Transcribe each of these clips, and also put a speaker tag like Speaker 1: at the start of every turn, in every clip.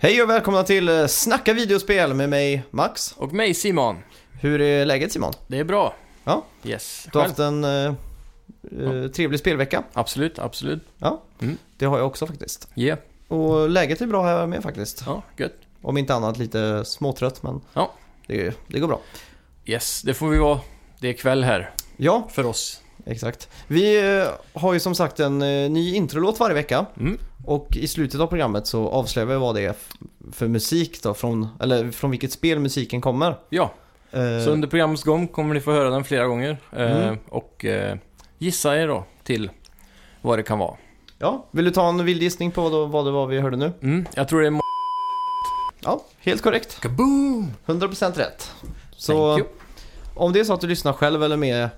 Speaker 1: Hej och välkomna till eh, Snacka videospel med mig Max.
Speaker 2: Och mig Simon.
Speaker 1: Hur är läget Simon?
Speaker 2: Det är bra.
Speaker 1: Ja.
Speaker 2: Yes.
Speaker 1: Du har
Speaker 2: Själv?
Speaker 1: haft en eh, eh, trevlig spelvecka.
Speaker 2: Absolut, absolut.
Speaker 1: Ja,
Speaker 2: Mm.
Speaker 1: det har jag också faktiskt.
Speaker 2: Yeah.
Speaker 1: Och läget är bra här med faktiskt.
Speaker 2: Ja, gött.
Speaker 1: Om inte annat lite småtrött men
Speaker 2: Ja.
Speaker 1: det, det går bra.
Speaker 2: Yes, det får vi vara. Det är kväll här
Speaker 1: Ja,
Speaker 2: för oss.
Speaker 1: exakt. Vi eh, har ju som sagt en eh, ny introlåt varje vecka.
Speaker 2: Mm.
Speaker 1: Och i slutet av programmet så avslöjar vi vad det är f- för musik då, från, eller från vilket spel musiken kommer.
Speaker 2: Ja,
Speaker 1: Eh,
Speaker 2: så under programmets gång kommer ni få höra den flera gånger. Eh,
Speaker 1: Mm.
Speaker 2: och eh, gissa er då till vad det kan vara.
Speaker 1: Ja, vill du ta en vild gissning på då, vad det var vi hörde nu?
Speaker 2: Mm. Jag tror det är... mo-
Speaker 1: Ja, helt korrekt.
Speaker 2: Kaboom!
Speaker 1: 100% rätt.
Speaker 2: Thank
Speaker 1: Så
Speaker 2: you.
Speaker 1: om det är så att du lyssnar själv eller med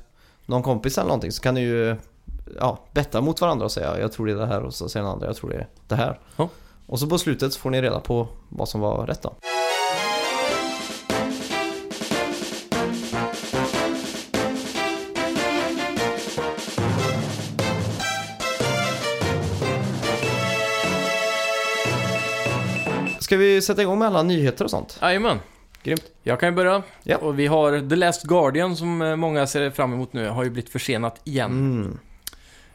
Speaker 1: någon kompis eller någonting så kan du ju ja, betta mot varandra och säga jag tror det är det här och så säger den andra jag tror det är det här.
Speaker 2: Ja.
Speaker 1: Och så på slutet så får ni reda på vad som var rätt då. Ska vi sätta igång med alla nyheter och sånt?
Speaker 2: Jajamän.
Speaker 1: Grymt.
Speaker 2: Jag kan ju börja.
Speaker 1: Ja.
Speaker 2: Och vi har The Last Guardian som eh, många ser fram emot nu. Har ju blivit försenat igen.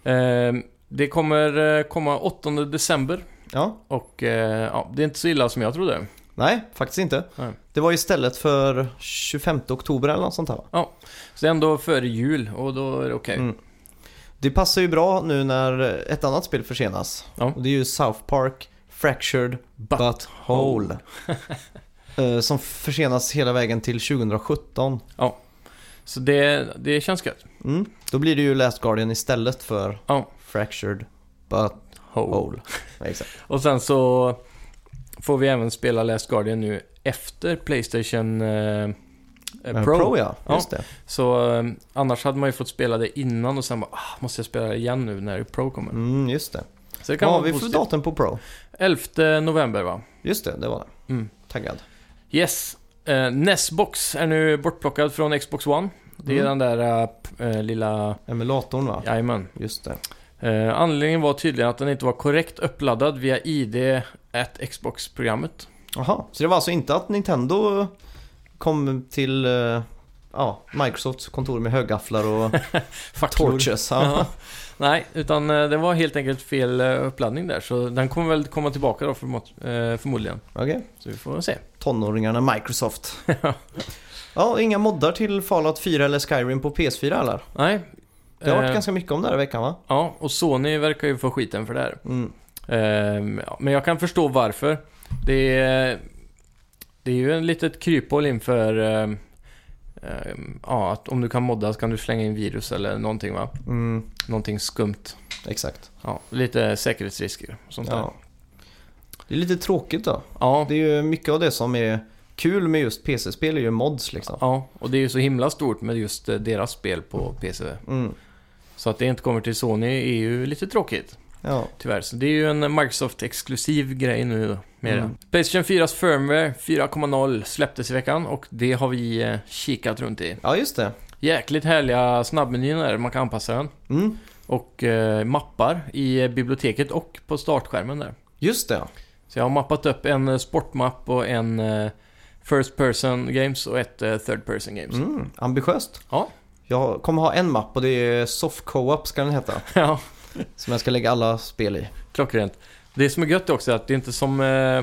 Speaker 1: Mm.
Speaker 2: Eh, det kommer eh, komma 8 december.
Speaker 1: Ja,
Speaker 2: Och eh, ja, det är inte så illa som jag trodde.
Speaker 1: nej faktiskt inte.
Speaker 2: Nej.
Speaker 1: Det var istället för 25 oktober eller något sånt här va?
Speaker 2: Så det är ändå före jul och då är det okej.
Speaker 1: Mm. Det passar ju bra nu när ett annat spel försenas.
Speaker 2: Ja.
Speaker 1: Och det är ju South Park Fractured
Speaker 2: But-
Speaker 1: But Whole. Eh, Som försenas hela vägen till 2017.
Speaker 2: Så det, det känns gött.
Speaker 1: Mm. Då blir det ju Last Guardian istället för
Speaker 2: Ja. Oh.
Speaker 1: Fractured But
Speaker 2: Ho.
Speaker 1: Whole. Ja, Exakt.
Speaker 2: Och sen så får vi även spela Last Guardian nu efter Playstation eh, eh,
Speaker 1: Eh,
Speaker 2: Pro.
Speaker 1: Pro ja,
Speaker 2: Ja.
Speaker 1: just det.
Speaker 2: Så eh, annars hade man ju fått spela det innan och sen bara, ah, måste jag spela det igen nu när Pro kommer.
Speaker 1: Mm, just det.
Speaker 2: Så det kan
Speaker 1: Vad har
Speaker 2: vara
Speaker 1: vi för
Speaker 2: positivt.
Speaker 1: datum på Pro?
Speaker 2: 11 november va?
Speaker 1: Just det, det var det.
Speaker 2: Mm.
Speaker 1: Taggad.
Speaker 2: Yes. Eh, Nesbox är nu bortplockad från Xbox One. Det är
Speaker 1: Mm.
Speaker 2: den där eh, p- eh, lilla...
Speaker 1: Emulatorn va?
Speaker 2: Jajamän.
Speaker 1: Just det.
Speaker 2: Eh, anledningen var tydligen att den inte var korrekt uppladdad via ID at Xbox-programmet.
Speaker 1: Jaha, så det var alltså inte att Nintendo kom till eh, ja, Microsofts kontor med högafflar och
Speaker 2: Facklor.
Speaker 1: torches?
Speaker 2: Ja.
Speaker 1: Ja.
Speaker 2: Nej, utan eh, det var helt enkelt fel eh, uppladdning där. Så den kommer väl komma tillbaka då förmo- eh, förmodligen.
Speaker 1: Okej,
Speaker 2: Så vi får se.
Speaker 1: tonåringarna Microsoft. ja, och inga moddar till Fallout 4 eller Skyrim på PS4 eller?
Speaker 2: Nej.
Speaker 1: Det har varit
Speaker 2: eh,
Speaker 1: ganska mycket om det här i veckan va?
Speaker 2: Ja, och Sony verkar ju få skiten för det här.
Speaker 1: Mm.
Speaker 2: Eh, ja, men jag kan förstå varför. Det är, det är ju en litet kryphål inför... Eh, eh, ja, att om du kan modda så kan du slänga in virus eller någonting va?
Speaker 1: Mm,
Speaker 2: Någonting skumt.
Speaker 1: exakt.
Speaker 2: Ja, lite säkerhetsrisker och sånt där.
Speaker 1: Ja. Det är lite tråkigt då.
Speaker 2: Ja,
Speaker 1: Det är ju mycket av det som är kul med just PC-spel är ju mods liksom.
Speaker 2: ja, och det är ju så himla stort med just eh, deras spel på PC.
Speaker 1: Mm.
Speaker 2: Så att det inte kommer till Sony är ju lite tråkigt,
Speaker 1: Ja.
Speaker 2: tyvärr. Så det är ju en Microsoft-exklusiv grej nu då, med
Speaker 1: Mm.
Speaker 2: det. Playstation 4s firmware 4.0 släpptes i veckan och det har vi eh, kikat runt i.
Speaker 1: ja, just det.
Speaker 2: Jäkligt härliga snabbmenyn där, man kan anpassa den.
Speaker 1: Mm.
Speaker 2: Och eh, mappar i eh, biblioteket och på startskärmen där.
Speaker 1: Just det.
Speaker 2: Så jag har mappat upp en eh, sportmapp och en eh, First Person Games och ett eh, Third Person Games.
Speaker 1: Mm. Ambitiöst.
Speaker 2: Ja.
Speaker 1: Jag kommer ha en mapp och det är Soft Co-op ska den heta.
Speaker 2: Ja,
Speaker 1: Som jag ska lägga alla spel i.
Speaker 2: klockrent. Det som är gött är också att det är inte som eh,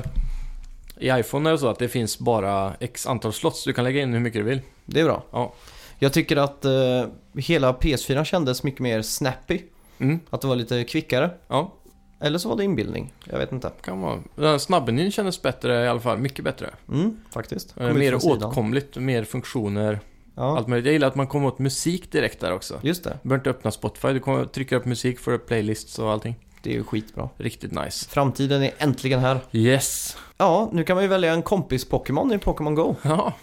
Speaker 2: i iPhone eller så att det finns bara x antal slots. Du kan lägga in hur mycket du vill.
Speaker 1: Det är bra.
Speaker 2: Ja.
Speaker 1: Jag tycker att eh, hela PS4 kändes mycket mer snappy.
Speaker 2: Mm,
Speaker 1: Att det var lite kvickare.
Speaker 2: ja,
Speaker 1: Eller så var det inbildning. Jag vet inte.
Speaker 2: kan vara. Den här snabbmenyn kändes bättre i alla fall. Mycket bättre.
Speaker 1: Mm, faktiskt. Kom
Speaker 2: Eh,
Speaker 1: ut
Speaker 2: mer
Speaker 1: från sidan.
Speaker 2: åtkomligt, mer funktioner.
Speaker 1: Ja,
Speaker 2: Allt möjligt. Jag gillar att man kommer åt musik direkt där också.
Speaker 1: just det.
Speaker 2: Du behöver inte öppna Spotify. Du kommer, trycker upp musik, får upp playlists och allting.
Speaker 1: Det är ju skitbra.
Speaker 2: Riktigt nice.
Speaker 1: Framtiden är äntligen här.
Speaker 2: Yes!
Speaker 1: Ja, nu kan man ju välja en kompis-Pokémon i Pokémon Go.
Speaker 2: Ja,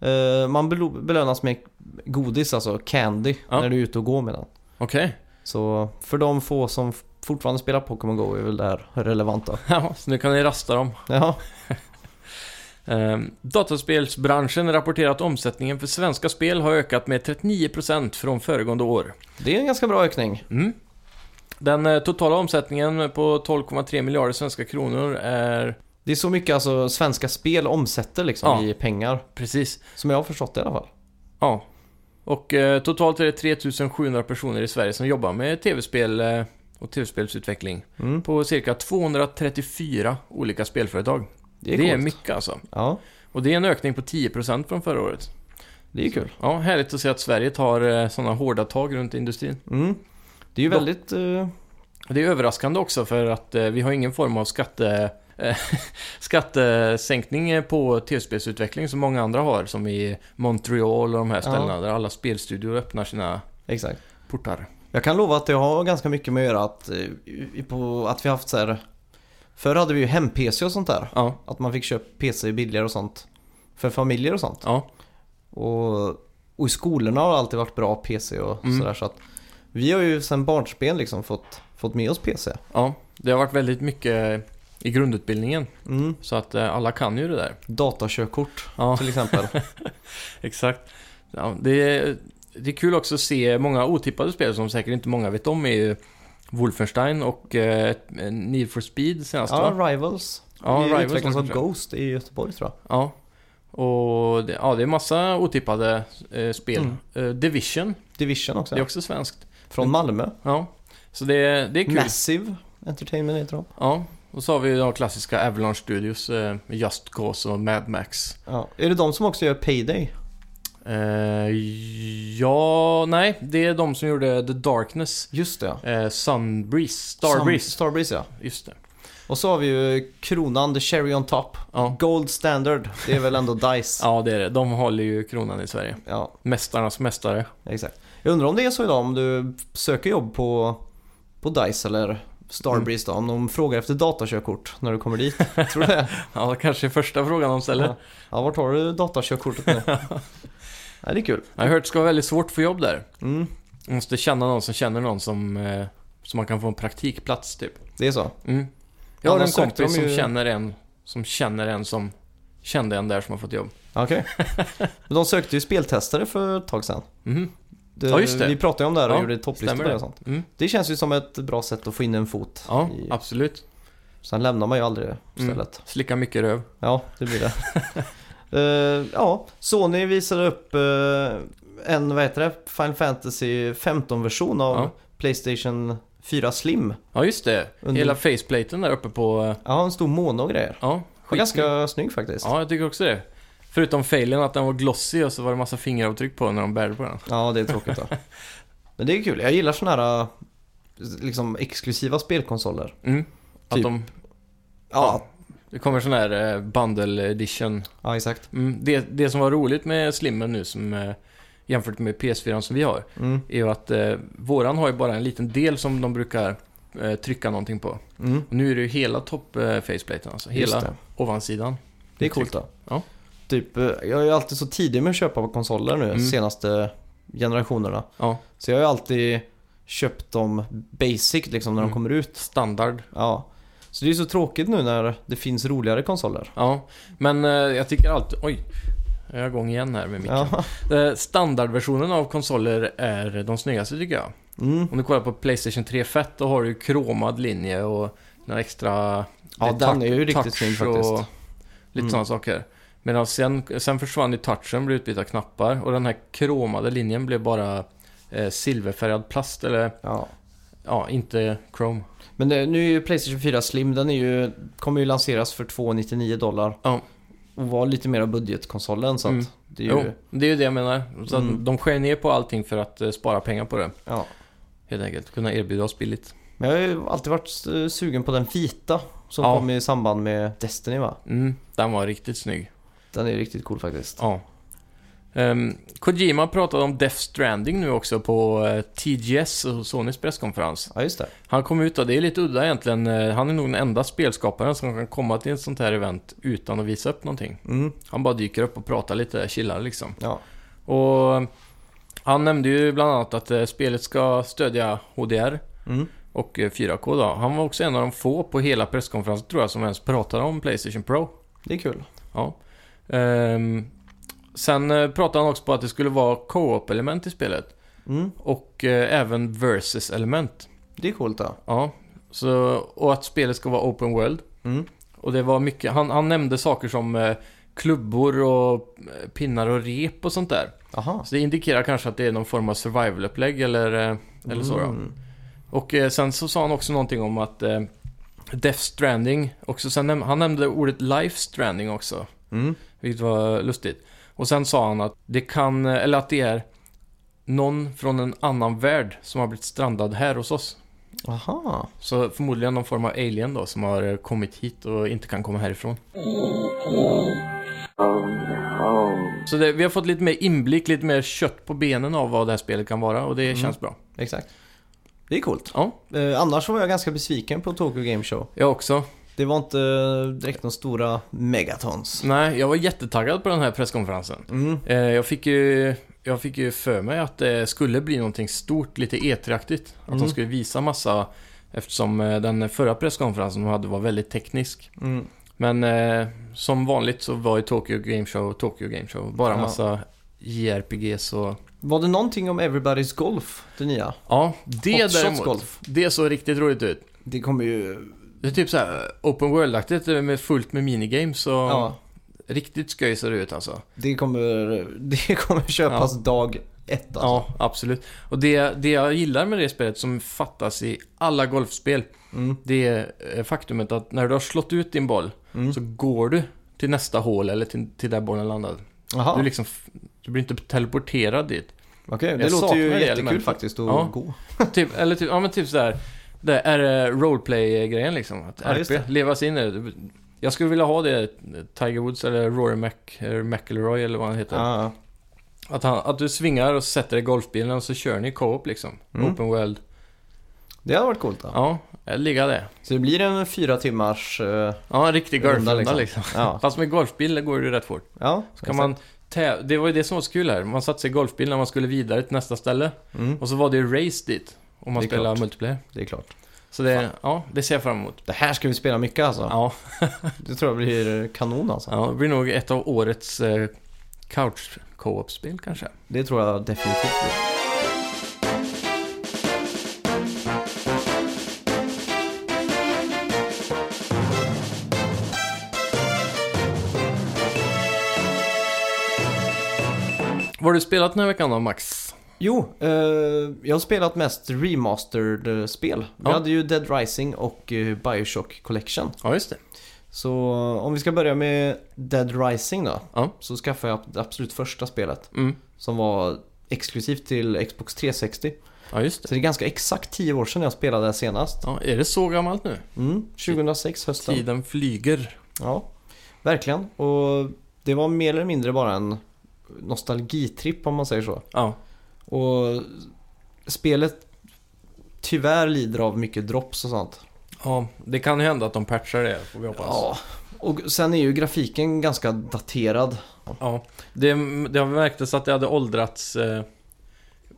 Speaker 1: Eh, man belo- belönas med godis, alltså candy,
Speaker 2: Ja.
Speaker 1: när du är ute och går med den.
Speaker 2: okej.
Speaker 1: Så för de få som f- fortfarande spelar Pokémon Go är väl det här relevanta.
Speaker 2: Ja, så nu kan ni rasta dem.
Speaker 1: Ja,
Speaker 2: Ehm, dataspelsbranschen rapporterar att omsättningen för svenska spel har ökat med 39% från föregående år.
Speaker 1: det är en ganska bra ökning.
Speaker 2: Mm. Den eh, totala omsättningen på 12,3 miljarder svenska kronor är
Speaker 1: Det är så mycket alltså svenska spel omsätter liksom
Speaker 2: Ja.
Speaker 1: i pengar.
Speaker 2: Precis.
Speaker 1: Som jag har förstått det i alla fall.
Speaker 2: Ja. Och eh, totalt är det 3700 personer i Sverige som jobbar med tv-spel eh, och tv-spelsutveckling
Speaker 1: Mm.
Speaker 2: på cirka 234 olika spelföretag.
Speaker 1: Det är,
Speaker 2: det är
Speaker 1: coolt.
Speaker 2: mycket alltså.
Speaker 1: Ja,
Speaker 2: Och det är en ökning på 10% från förra året.
Speaker 1: det är ju kul.
Speaker 2: Ja, härligt att se att Sverige tar sådana hårda tag runt industrin.
Speaker 1: Mm. Det är ju
Speaker 2: Då-
Speaker 1: väldigt... eh,
Speaker 2: Och Det är överraskande också för att eh, vi har ingen form av skatte, eh, skattesänkning på tv-spelsutveckling som många andra har. Som i Montreal och de här ställena där alla spelstudior öppnar sina
Speaker 1: exakt.
Speaker 2: portar.
Speaker 1: Jag kan lova att det har ganska mycket med att göra att, eh, i- på, att vi har haft så här... Förr hade vi ju hem-PC och sånt där.
Speaker 2: Ja,
Speaker 1: Att man fick köpa PC billigare och sånt. För familjer och sånt.
Speaker 2: ja,
Speaker 1: Och, och i skolorna har det alltid varit bra PC och
Speaker 2: Mm.
Speaker 1: sådär. Så att vi har ju sedan barnsben liksom fått, fått med oss PC.
Speaker 2: ja. Det har varit väldigt mycket i grundutbildningen.
Speaker 1: Mm.
Speaker 2: Så att eh, alla kan ju det där.
Speaker 1: Datakörkort
Speaker 2: Ja,
Speaker 1: till exempel.
Speaker 2: exakt. Ja, det, är, det är kul också att se många otippade spel som säkert inte många vet om. är ju Wolfenstein och eh, Need for Speed senast va?
Speaker 1: ja, Rivals.
Speaker 2: Ja,
Speaker 1: det
Speaker 2: Rivals
Speaker 1: utvecklas av
Speaker 2: kanske.
Speaker 1: Ghost i Göteborg tror jag.
Speaker 2: Ja. Och det, ja, det är massa otippade eh, spel.
Speaker 1: Mm.
Speaker 2: Eh, Division,
Speaker 1: Division också.
Speaker 2: det är också svenskt.
Speaker 1: Från Malmö.
Speaker 2: Ja. Så det, det är kul.
Speaker 1: Massive Entertainment heter de.
Speaker 2: Ja. Och så har vi de klassiska Avalanche Studios, eh, Just Cause och Mad Max.
Speaker 1: Ja. Är det de som också gör Payday?
Speaker 2: Eh, ja, nej, det är de som gjorde The Darkness.
Speaker 1: Just det ja.
Speaker 2: Eh, Sunbreeze,
Speaker 1: Sam-
Speaker 2: Starbreeze.
Speaker 1: Starbreeze ja.
Speaker 2: Just det.
Speaker 1: Och så har vi ju kronan, the cherry on top.
Speaker 2: Ja.
Speaker 1: Gold standard. Det är väl ändå DICE.
Speaker 2: ja, det är det. De håller ju kronan i Sverige.
Speaker 1: ja.
Speaker 2: Mästarnas mästare.
Speaker 1: Exakt. Jag undrar om det är så idag om du söker jobb på, på DICE eller Starbreeze då, om de frågar efter datakörkort när du kommer dit. Tror du det?
Speaker 2: Ja, kanske är första frågan de ställer.
Speaker 1: Ja. Ja, vart har du datakörkortet nu? Nej, det är kul.
Speaker 2: Jag har hört att det ska vara väldigt svårt att få jobb där.
Speaker 1: Mm,
Speaker 2: Man måste känna någon som känner någon som, eh, som man kan få en praktikplats typ.
Speaker 1: det är så.
Speaker 2: Mm. Jag har
Speaker 1: Annars
Speaker 2: en
Speaker 1: sökte de
Speaker 2: kompis som
Speaker 1: ju-
Speaker 2: känner en som känner en som kände en där som har fått jobb.
Speaker 1: Okej. Men de sökte ju speltestare för ett tag sedan.
Speaker 2: Mhm.
Speaker 1: Det,
Speaker 2: Ja, just det.
Speaker 1: Vi pratade ju om det här och
Speaker 2: Ja,
Speaker 1: gjorde topplistor på
Speaker 2: stämmer
Speaker 1: det
Speaker 2: det.
Speaker 1: och sånt.
Speaker 2: Mm.
Speaker 1: Det känns ju som ett bra sätt att få in en fot.
Speaker 2: Ja, Mm.
Speaker 1: i-
Speaker 2: absolut.
Speaker 1: Sen lämnar man ju aldrig stället.
Speaker 2: Slicka mycket röv.
Speaker 1: Ja, det blir det. Eh, ja, Sony visade upp eh, en, vad heter det, Final Fantasy 15-version av
Speaker 2: Ja.
Speaker 1: Playstation 4 Slim.
Speaker 2: Ja, just det.
Speaker 1: Under-
Speaker 2: Hela faceplaten där uppe på... eh,
Speaker 1: Ja, en stor mono och grejer.
Speaker 2: Ja,
Speaker 1: Var ganska snygg faktiskt. Ja.
Speaker 2: Ja, jag tycker också det. Förutom failen att den var glossy och så var det massa fingeravtryck på när de bärde på den.
Speaker 1: det är tråkigt då. Men det är kul, jag gillar sådana här eh, liksom exklusiva spelkonsoler.
Speaker 2: Mm. Att
Speaker 1: Typ.
Speaker 2: de...
Speaker 1: Ja,
Speaker 2: Det kommer sån här eh, bundle edition.
Speaker 1: ja exakt.
Speaker 2: Mm. Det, det som var roligt med slimmen nu som eh, jämfört med PS4 som vi har.
Speaker 1: Mm,
Speaker 2: är ju att eh, våran har ju bara en liten del som de brukar eh, trycka någonting på.
Speaker 1: mm.
Speaker 2: Och nu är det ju hela top eh, faceplaten, alltså
Speaker 1: Just
Speaker 2: hela
Speaker 1: det.
Speaker 2: ovansidan.
Speaker 1: Det är coolt då.
Speaker 2: Ja.
Speaker 1: Typ, eh, jag är ju alltid så tidig med att köpa konsoler nu,
Speaker 2: Mm.
Speaker 1: senaste generationerna.
Speaker 2: Ja,
Speaker 1: Så jag har ju alltid köpt dem basic liksom när de
Speaker 2: Mm.
Speaker 1: kommer ut.
Speaker 2: standard.
Speaker 1: Ja. Så det är ju så tråkigt nu när det finns roligare konsoler.
Speaker 2: Ja, men eh, jag tycker alltid... Oj, jag är igång igen här med micken.
Speaker 1: Ja.
Speaker 2: Eh, standardversionen av konsoler är de snyggaste tycker jag.
Speaker 1: Mm.
Speaker 2: Om du kollar på Playstation 3 Fett, då har du ju kromad linje och några extra...
Speaker 1: ja,
Speaker 2: det
Speaker 1: den
Speaker 2: touch-
Speaker 1: är ju riktigt
Speaker 2: touch
Speaker 1: snygg
Speaker 2: och
Speaker 1: faktiskt.
Speaker 2: Lite
Speaker 1: Mm.
Speaker 2: sådana saker. Medan sen, sen försvann ju touchen, blev utbytta knappar och den här kromade linjen blev bara eh, silverfärgad plast eller
Speaker 1: Ja.
Speaker 2: ja, inte chrome.
Speaker 1: Men eh, nu är ju Playstation 4 Slim, den är ju, kommer ju lanseras för 299 dollar.
Speaker 2: Ja.
Speaker 1: Och var lite mera budgetkonsolen så att
Speaker 2: Mm.
Speaker 1: det är ju...
Speaker 2: Jo, det är ju det jag menar. Så att
Speaker 1: Mm.
Speaker 2: De skär ner på allting för att eh, spara pengar på det.
Speaker 1: Ja.
Speaker 2: Helt enkelt, kunna erbjuda oss billigt.
Speaker 1: Men jag har ju alltid varit eh, sugen på den vita som
Speaker 2: Ja.
Speaker 1: kom i samband med Destiny va?
Speaker 2: Mm, den var riktigt snygg.
Speaker 1: Den är ju riktigt cool faktiskt.
Speaker 2: Ja. Ehm, Kojima pratade om Death Stranding nu också på eh, TGS, och Sonys presskonferens.
Speaker 1: Ja, just det.
Speaker 2: Han kom ut och det är lite udda egentligen. Eh, Han är nog den enda spelskaparen som kan komma till ett sånt här event utan att visa upp någonting.
Speaker 1: Mm.
Speaker 2: Han bara dyker upp och pratar lite, chillar liksom.
Speaker 1: Ja.
Speaker 2: Och han nämnde ju bland annat att eh, spelet ska stödja HDR
Speaker 1: Mm.
Speaker 2: och eh, 4K då. Han var också en av de få på hela presskonferensen tror jag som ens pratade om Playstation Pro.
Speaker 1: Det är kul.
Speaker 2: Ja. Ehm, sen eh, pratade han också på att det skulle vara co-op-element i spelet.
Speaker 1: Mm.
Speaker 2: Och eh, även versus-element.
Speaker 1: Det är coolt då.
Speaker 2: Ja. Så, och att spelet ska vara open world.
Speaker 1: Mm.
Speaker 2: Och det var mycket, han, han nämnde saker som eh, klubbor och eh, pinnar och rep och sånt där.
Speaker 1: Aha.
Speaker 2: Så det indikerar kanske att det är någon form av survival-upplägg eller, eh, eller så. Ja.
Speaker 1: Mm.
Speaker 2: Och eh, sen så sa han också någonting om att eh, Death Stranding, också, sen näm- han nämnde ordet Life Stranding också.
Speaker 1: Mm.
Speaker 2: Vilket var lustigt. Och sen sa han att det kan, eller att det är någon från en annan värld som har blivit strandad här hos oss.
Speaker 1: Aha.
Speaker 2: Så förmodligen någon form av alien då som har eh, kommit hit och inte kan komma härifrån.
Speaker 3: Oh no.
Speaker 2: Så det, vi har fått lite mer inblick, lite mer kött på benen av vad det här spelet kan vara och det känns bra.
Speaker 1: Exakt. Det är coolt.
Speaker 2: Ja,
Speaker 1: Eh, annars var jag ganska besviken på Tokyo Game Show.
Speaker 2: jag också.
Speaker 1: Det var inte eh, direkt några stora megatons.
Speaker 2: Nej, jag var jättetaggad på den här presskonferensen.
Speaker 1: Mm.
Speaker 2: Eh, jag, fick ju, jag fick ju för mig att det skulle bli någonting stort, lite E3-aktigt. Att de
Speaker 1: Mm.
Speaker 2: skulle visa massa, eftersom eh, den förra presskonferensen de hade var väldigt teknisk.
Speaker 1: Mm.
Speaker 2: Men eh, som vanligt så var ju Tokyo Game Show Tokyo Game Show. Bara
Speaker 1: Ja.
Speaker 2: massa JRPGs och...
Speaker 1: Var det någonting om Everybody's Golf, det nya?
Speaker 2: Ja, det
Speaker 1: Hot Shots
Speaker 2: däremot.
Speaker 1: Golf.
Speaker 2: Det såg riktigt roligt ut.
Speaker 1: Det kommer ju...
Speaker 2: Det är typ så här open world-aktigt med fullt med minigames och
Speaker 1: Ja,
Speaker 2: riktigt skoj ser det ut alltså.
Speaker 1: det kommer, det kommer köpas dag ett alltså.
Speaker 2: Ja, absolut. Och det, det jag gillar med det spelet som fattas i alla golfspel,
Speaker 1: Mm.
Speaker 2: det är eh, faktumet att när du har slått ut din boll
Speaker 1: Mm.
Speaker 2: så går du till nästa hål eller till, till där bollen landade.
Speaker 1: Jaha,
Speaker 2: Du, liksom, f- du blir inte teleporterad dit.
Speaker 1: okej. Det
Speaker 2: jag
Speaker 1: låter
Speaker 2: saknar
Speaker 1: ju
Speaker 2: det
Speaker 1: jättekul
Speaker 2: elementet.
Speaker 1: faktiskt att
Speaker 2: Ja.
Speaker 1: gå.
Speaker 2: typ, eller typ, ja men typ sådär. Det är eh, roleplay-grejen liksom. Att
Speaker 1: Ja, just
Speaker 2: RP, leva sig in i det. Jag skulle vilja ha det, eh, Tiger Woods eller Rory Mc, eller McIlroy eller vad han heter.
Speaker 1: Ja,
Speaker 2: Att, han, att du svingar och sätter dig i golfbilen och så kör ni co-op liksom.
Speaker 1: Mm.
Speaker 2: Open world.
Speaker 1: det hade varit coolt då.
Speaker 2: Ja, jag ligger det.
Speaker 1: Så det blir en fyra timmars... eh,
Speaker 2: Ja, en riktig
Speaker 1: Runda,
Speaker 2: golfrunda
Speaker 1: liksom.
Speaker 2: liksom.
Speaker 1: ja,
Speaker 2: Fast med golfbil går det ju rätt fort.
Speaker 1: ja.
Speaker 2: Så kan man tä- det var ju det som var så kul här. Man satte sig i golfbil när man skulle vidare till nästa ställe.
Speaker 1: Mm,
Speaker 2: Och så var det ju race dit. Om man
Speaker 1: Det är
Speaker 2: spelar
Speaker 1: klart.
Speaker 2: multiplayer.
Speaker 1: det är klart.
Speaker 2: Så det, ja, det ser jag fram emot.
Speaker 1: Det här ska vi spela mycket alltså.
Speaker 2: Ja,
Speaker 1: Det tror jag blir kanon alltså.
Speaker 2: ja det blir nog ett av årets eh, couch co-op-spel kanske.
Speaker 1: Det tror jag definitivt blir.
Speaker 2: Vad har du spelat den här veckan då, Max?
Speaker 1: Jo, eh, jag har spelat mest remastered-spel. Vi
Speaker 2: Ja.
Speaker 1: hade ju Dead Rising och eh, Bioshock Collection.
Speaker 2: Ja, just det.
Speaker 1: Så om vi ska börja med Dead Rising då.
Speaker 2: Ja.
Speaker 1: Så skaffade jag det absolut första spelet.
Speaker 2: Mm.
Speaker 1: Som var exklusivt till Xbox 360.
Speaker 2: Ja, just det.
Speaker 1: Så det är ganska exakt 10 år sedan jag spelade det senast.
Speaker 2: Ja, är det så gammalt nu?
Speaker 1: Mm, 2006 hösten.
Speaker 2: Tiden flyger.
Speaker 1: Ja, verkligen. Och det var mer eller mindre bara en nostalgitripp om man säger så.
Speaker 2: Ja,
Speaker 1: Och spelet tyvärr lider av mycket drops och sånt.
Speaker 2: ja det kan ju hända att de patchar det, får vi hoppas.
Speaker 1: Ja, Alltså. och sen är ju grafiken ganska daterad.
Speaker 2: Ja, det, det har märktes att det hade åldrats eh,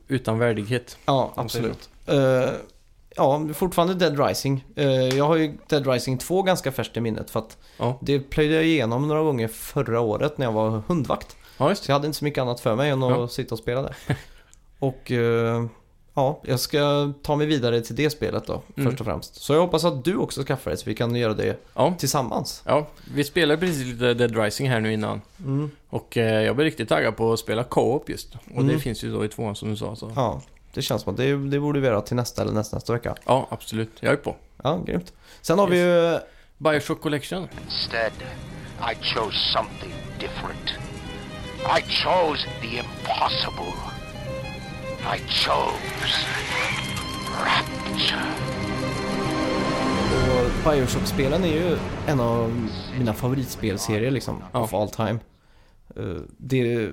Speaker 2: utan värdighet.
Speaker 1: Ja,
Speaker 2: Om säger
Speaker 1: absolut. Eh, ja, fortfarande Dead Rising. Eh, jag har ju Dead Rising 2 ganska färskt i minnet för att
Speaker 2: Ja.
Speaker 1: det plöjde jag igenom några gånger förra året när jag var hundvakt.
Speaker 2: Ja, just
Speaker 1: Så jag hade inte så mycket annat för mig än att
Speaker 2: Ja.
Speaker 1: sitta och spela det. Och eh, ja, jag ska ta mig vidare till det spelet då,
Speaker 2: Mm.
Speaker 1: först och främst. Så jag hoppas att du också skaffar det så vi kan göra det
Speaker 2: Ja.
Speaker 1: tillsammans.
Speaker 2: ja, vi spelade precis lite Dead Rising här nu innan.
Speaker 1: Mm.
Speaker 2: Och eh, jag blev riktigt taggad på att spela co-op just. Och det
Speaker 1: Mm.
Speaker 2: finns ju då i tvåan som du sa. Så. Ja.
Speaker 1: Ja, det känns som att det, det borde vi göra till nästa eller nästa, nästa vecka.
Speaker 2: absolut. Jag är på.
Speaker 1: Ja, grymt. Sen har vi ju
Speaker 2: Bioshock Collection.
Speaker 4: Instead, I chose something different. I chose the impossible. I chose rapture.
Speaker 1: Och Bioshock-spelen är ju en av mina favoritspelserier liksom,
Speaker 2: Ja.
Speaker 1: of all time. Eh, Det,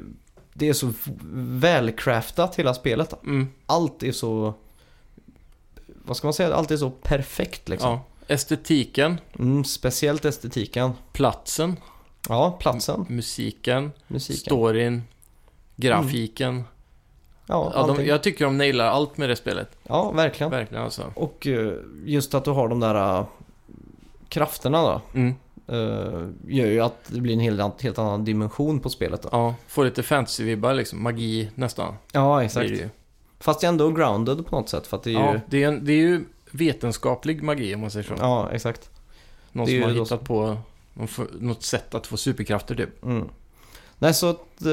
Speaker 1: det är så välcraftat hela spelet.
Speaker 2: Mm,
Speaker 1: Allt är så... Vad ska man säga? Allt är så perfekt liksom.
Speaker 2: ja. Estetiken,
Speaker 1: Mm, speciellt estetiken.
Speaker 2: platsen,
Speaker 1: Ja, platsen,
Speaker 2: Mm. musiken,
Speaker 1: musiken. Mm.
Speaker 2: storyn, grafiken.
Speaker 1: ja,
Speaker 2: Ja, de,
Speaker 1: allting.
Speaker 2: jag tycker de nailar allt med det spelet.
Speaker 1: ja, verkligen.
Speaker 2: Verkligen alltså.
Speaker 1: Och eh, just att du har de där eh, krafterna då.
Speaker 2: Mm.
Speaker 1: eh, Gör ju att det blir en helt, helt annan dimension på spelet då.
Speaker 2: Ja, får lite fantasy-vibbar liksom. Magi nästan.
Speaker 1: Ja,
Speaker 2: Blir det ju.
Speaker 1: Fast jag ändå grounded på något sätt för att det är
Speaker 2: ja,
Speaker 1: ju...
Speaker 2: det är, en, det är ju vetenskaplig magi om man säger så.
Speaker 1: Ja, exakt.
Speaker 2: Någon
Speaker 1: Det är
Speaker 2: som
Speaker 1: ju
Speaker 2: har
Speaker 1: då-
Speaker 2: hittat på någon f- något sätt att få superkrafter typ.
Speaker 1: Mm. Nej, så att... eh,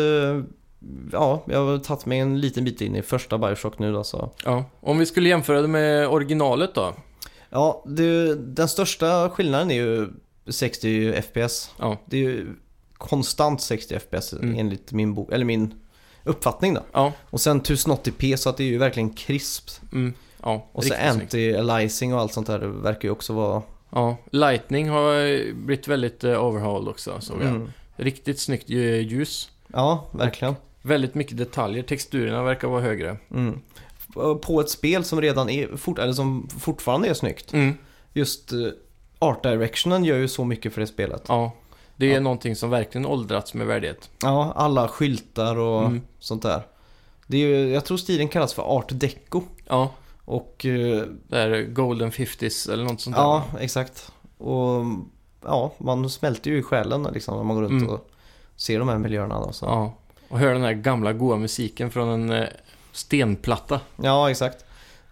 Speaker 1: ja, jag har tagit mig en liten bit in i första Bioshock nu då, så.
Speaker 2: Ja. Om vi skulle jämföra det med originalet då?
Speaker 1: Ja, det, den största skillnaden är ju 60 FPS.
Speaker 2: Ja.
Speaker 1: Det är ju konstant 60 FPS
Speaker 2: Mm.
Speaker 1: enligt min, bok, eller min uppfattning då.
Speaker 2: Ja.
Speaker 1: Och sen 1080p så att det är ju verkligen krispt.
Speaker 2: Mm. Ja,
Speaker 1: Och så
Speaker 2: riktigt snyggt.
Speaker 1: anti-aliasing och allt sånt där verkar ju också vara...
Speaker 2: Ja, Lightning har eh, blivit väldigt eh, overhauled också såg jag.
Speaker 1: Mm.
Speaker 2: Riktigt snyggt eh, ljus.
Speaker 1: Ja, verkligen.
Speaker 2: Väldigt mycket detaljer. Texturerna verkar vara högre.
Speaker 1: Mm. På ett spel som redan är, fort, eller som fortfarande är snyggt.
Speaker 2: Mm.
Speaker 1: Just eh, art directionen gör ju så mycket för det spelet.
Speaker 2: Ja. Det är
Speaker 1: Ja.
Speaker 2: någonting som verkligen åldrats med värdighet.
Speaker 1: Ja, alla skyltar och
Speaker 2: Mm.
Speaker 1: sånt där. Det är ju, jag tror stilen kallas för art deco.
Speaker 2: Ja,
Speaker 1: Och eh,
Speaker 2: det här Golden 50s eller något sånt
Speaker 1: ja, exakt. Och ja, man smälter ju i själen liksom när man går runt
Speaker 2: Mm.
Speaker 1: och ser de här miljöerna då. Så.
Speaker 2: där. Ja. Och hör den här gamla goa musiken från en eh, stenplatta.
Speaker 1: Ja, exakt.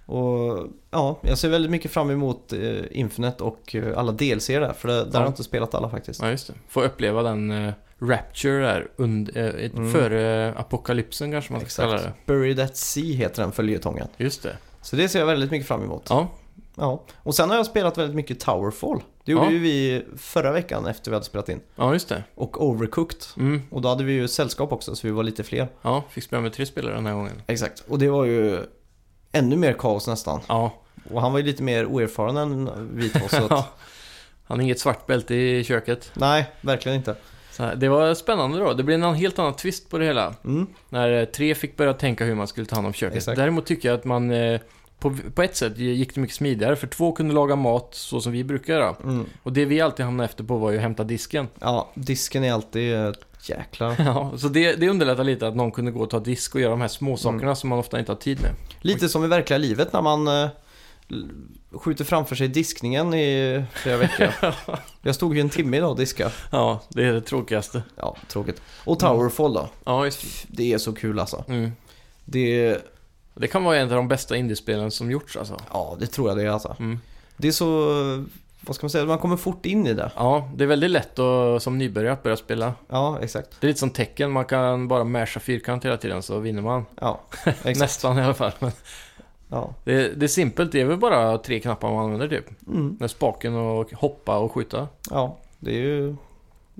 Speaker 1: Och ja, jag ser väldigt mycket fram emot eh, Infinite och eh, alla DLC där. För det, där
Speaker 2: Ja.
Speaker 1: har jag inte spelat alla faktiskt.
Speaker 2: Ja, just det. Få uppleva den eh, Rapture där und, eh, ett-
Speaker 1: Mm.
Speaker 2: före apokalypsen kanske man ska kalla det.
Speaker 1: Buried at Sea heter den följetongen.
Speaker 2: Just det.
Speaker 1: Så det ser jag väldigt mycket fram emot. Ja.
Speaker 2: Ja,
Speaker 1: Och sen har jag spelat väldigt mycket Towerfall. Det gjorde
Speaker 2: Ja.
Speaker 1: ju vi förra veckan efter vi hade spelat in.
Speaker 2: ja just det.
Speaker 1: Och Overcooked.
Speaker 2: Mm.
Speaker 1: Och då hade vi ju sällskap också så vi var lite fler.
Speaker 2: Ja, fick spela med tre spelare den här gången.
Speaker 1: Exakt. Och det var ju ännu mer kaos nästan.
Speaker 2: Ja,
Speaker 1: Och han var ju lite mer oerfaren än vi två. Så att,
Speaker 2: Han har inget svart bälte i köket.
Speaker 1: nej, verkligen inte.
Speaker 2: Så här, det var spännande då. Det blev en helt annan twist på det hela.
Speaker 1: Mm.
Speaker 2: När eh, tre fick börja tänka hur man skulle ta hand om köket.
Speaker 1: Exakt.
Speaker 2: Däremot tycker jag att man... eh, På, på ett sätt gick det mycket smidigare, för två kunde laga mat så som vi brukar göra.
Speaker 1: Mm.
Speaker 2: Och det vi alltid hamnade efter på var ju att hämta disken.
Speaker 1: Ja, disken är alltid eh, jäklar.
Speaker 2: Ja, så det, det underlättar lite att någon kunde gå och ta disk och göra de här små sakerna som man ofta inte har tid med.
Speaker 1: Lite som i verkliga livet när man eh, l- skjuter framför sig diskningen i flera veckor. Jag stod ju en timme idag och diskade.
Speaker 2: Ja, det är det tråkigaste.
Speaker 1: Ja, tråkigt. Och
Speaker 2: Mm.
Speaker 1: Towerfall då.
Speaker 2: Ja, just
Speaker 1: Pff, Det är så kul alltså.
Speaker 2: mm.
Speaker 1: Det,
Speaker 2: Det kan vara en av de bästa indiespelen som gjorts alltså.
Speaker 1: ja, det tror jag det är alltså.
Speaker 2: Mm.
Speaker 1: Det är så, eh, vad ska man säga, man kommer fort in i det.
Speaker 2: Ja, det är väldigt lätt att, som nybörjare att börja spela.
Speaker 1: Ja, exakt.
Speaker 2: Det är lite som tecken, man kan bara masha fyrkant hela tiden så vinner man.
Speaker 1: Ja, exakt.
Speaker 2: Nästan i alla fall. Men
Speaker 1: Ja.
Speaker 2: det, det är simpelt, det är väl bara tre knappar man använder typ.
Speaker 1: Mm,
Speaker 2: Med spaken och hoppa och skjuta.
Speaker 1: ja, det är ju,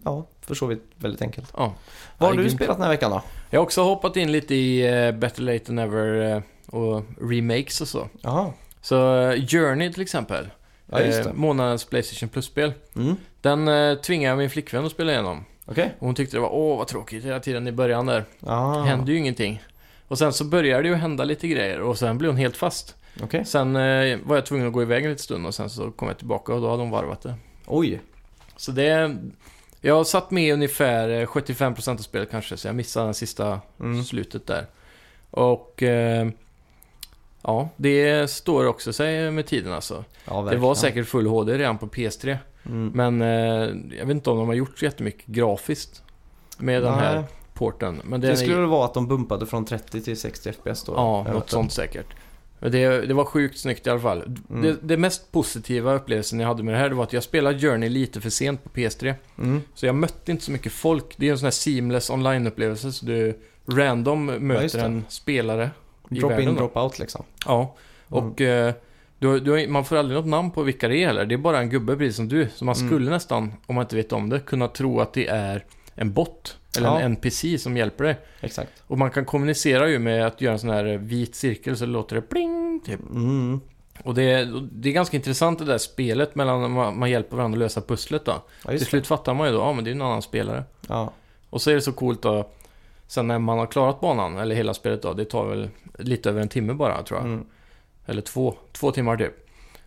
Speaker 1: ja, för så vitt väldigt enkelt.
Speaker 2: Ja.
Speaker 1: Vad har
Speaker 2: Ja,
Speaker 1: du
Speaker 2: grymt.
Speaker 1: spelat den här veckan då?
Speaker 2: Jag har också hoppat in lite i eh, Better Late Than Never eh, och remakes och så.
Speaker 1: Jaha,
Speaker 2: Så eh, Journey till exempel.
Speaker 1: ja just
Speaker 2: Eh,
Speaker 1: det.
Speaker 2: månadens Playstation Plus-spel.
Speaker 1: Mm,
Speaker 2: Den eh, tvingade jag min flickvän att spela igenom.
Speaker 1: okej.
Speaker 2: Och Hon tyckte det var åh vad tråkigt hela tiden i början där.
Speaker 1: Ah,
Speaker 2: hände ju ingenting. Och sen så började det ju hända lite grejer och sen blev hon helt fast.
Speaker 1: Okej.
Speaker 2: Sen eh, var jag tvungen att gå iväg en liten stund och sen så kom jag tillbaka och då hade hon varvat det.
Speaker 1: Oj.
Speaker 2: Så det... Jag har satt med ungefär eh, 75% av spelet kanske, så jag missade den sista
Speaker 1: Mm.
Speaker 2: slutet där. Och... Eh, ja, det står också sig med tiden alltså.
Speaker 1: Ja,
Speaker 2: Det
Speaker 1: verkligen.
Speaker 2: var säkert full HD redan på PS3.
Speaker 1: Mm.
Speaker 2: Men eh, jag vet inte om de har gjort så jättemycket grafiskt med den
Speaker 1: Nej,
Speaker 2: här porten. Men den
Speaker 1: Det
Speaker 2: är-
Speaker 1: skulle väl vara att de bumpade från 30 till 60 FPS då?
Speaker 2: Ja,
Speaker 1: Jag vet
Speaker 2: något
Speaker 1: inte.
Speaker 2: sånt säkert. Men det, det var sjukt snyggt i alla fall.
Speaker 1: Mm.
Speaker 2: Det, det mest positiva upplevelsen jag hade med det här det var att jag spelade Journey lite för sent på PS3.
Speaker 1: Mm.
Speaker 2: Så jag mötte inte så mycket folk. Det är ju en sån här seamless online-upplevelse så du random möter
Speaker 1: det.
Speaker 2: en spelare. I
Speaker 1: Drop
Speaker 2: världen
Speaker 1: in,
Speaker 2: då.
Speaker 1: drop out liksom.
Speaker 2: Ja, och
Speaker 1: Mm.
Speaker 2: eh, du, du, man får aldrig något namn på vilka det är heller. Det är bara en gubbe precis som du. Så man
Speaker 1: Mm.
Speaker 2: skulle nästan, om man inte vet om det, kunna tro att det är en bot. Eller
Speaker 1: Ja.
Speaker 2: en NPC som hjälper dig.
Speaker 1: Exakt.
Speaker 2: Och man kan kommunicera ju med att göra en sån här vit cirkel så låter det pling, typ.
Speaker 1: Mm.
Speaker 2: Och det, är- det är ganska intressant det där spelet mellan man, man hjälper varandra att lösa pusslet då.
Speaker 1: Ja,
Speaker 2: Till
Speaker 1: just det.
Speaker 2: slut fattar man ju då, ja men det är ju en annan spelare.
Speaker 1: Ja.
Speaker 2: Och så är det så coolt då, sen när man har klarat banan, eller hela spelet då, det tar väl lite över en timme bara tror jag.
Speaker 1: Mm.
Speaker 2: Eller två, två timmar typ.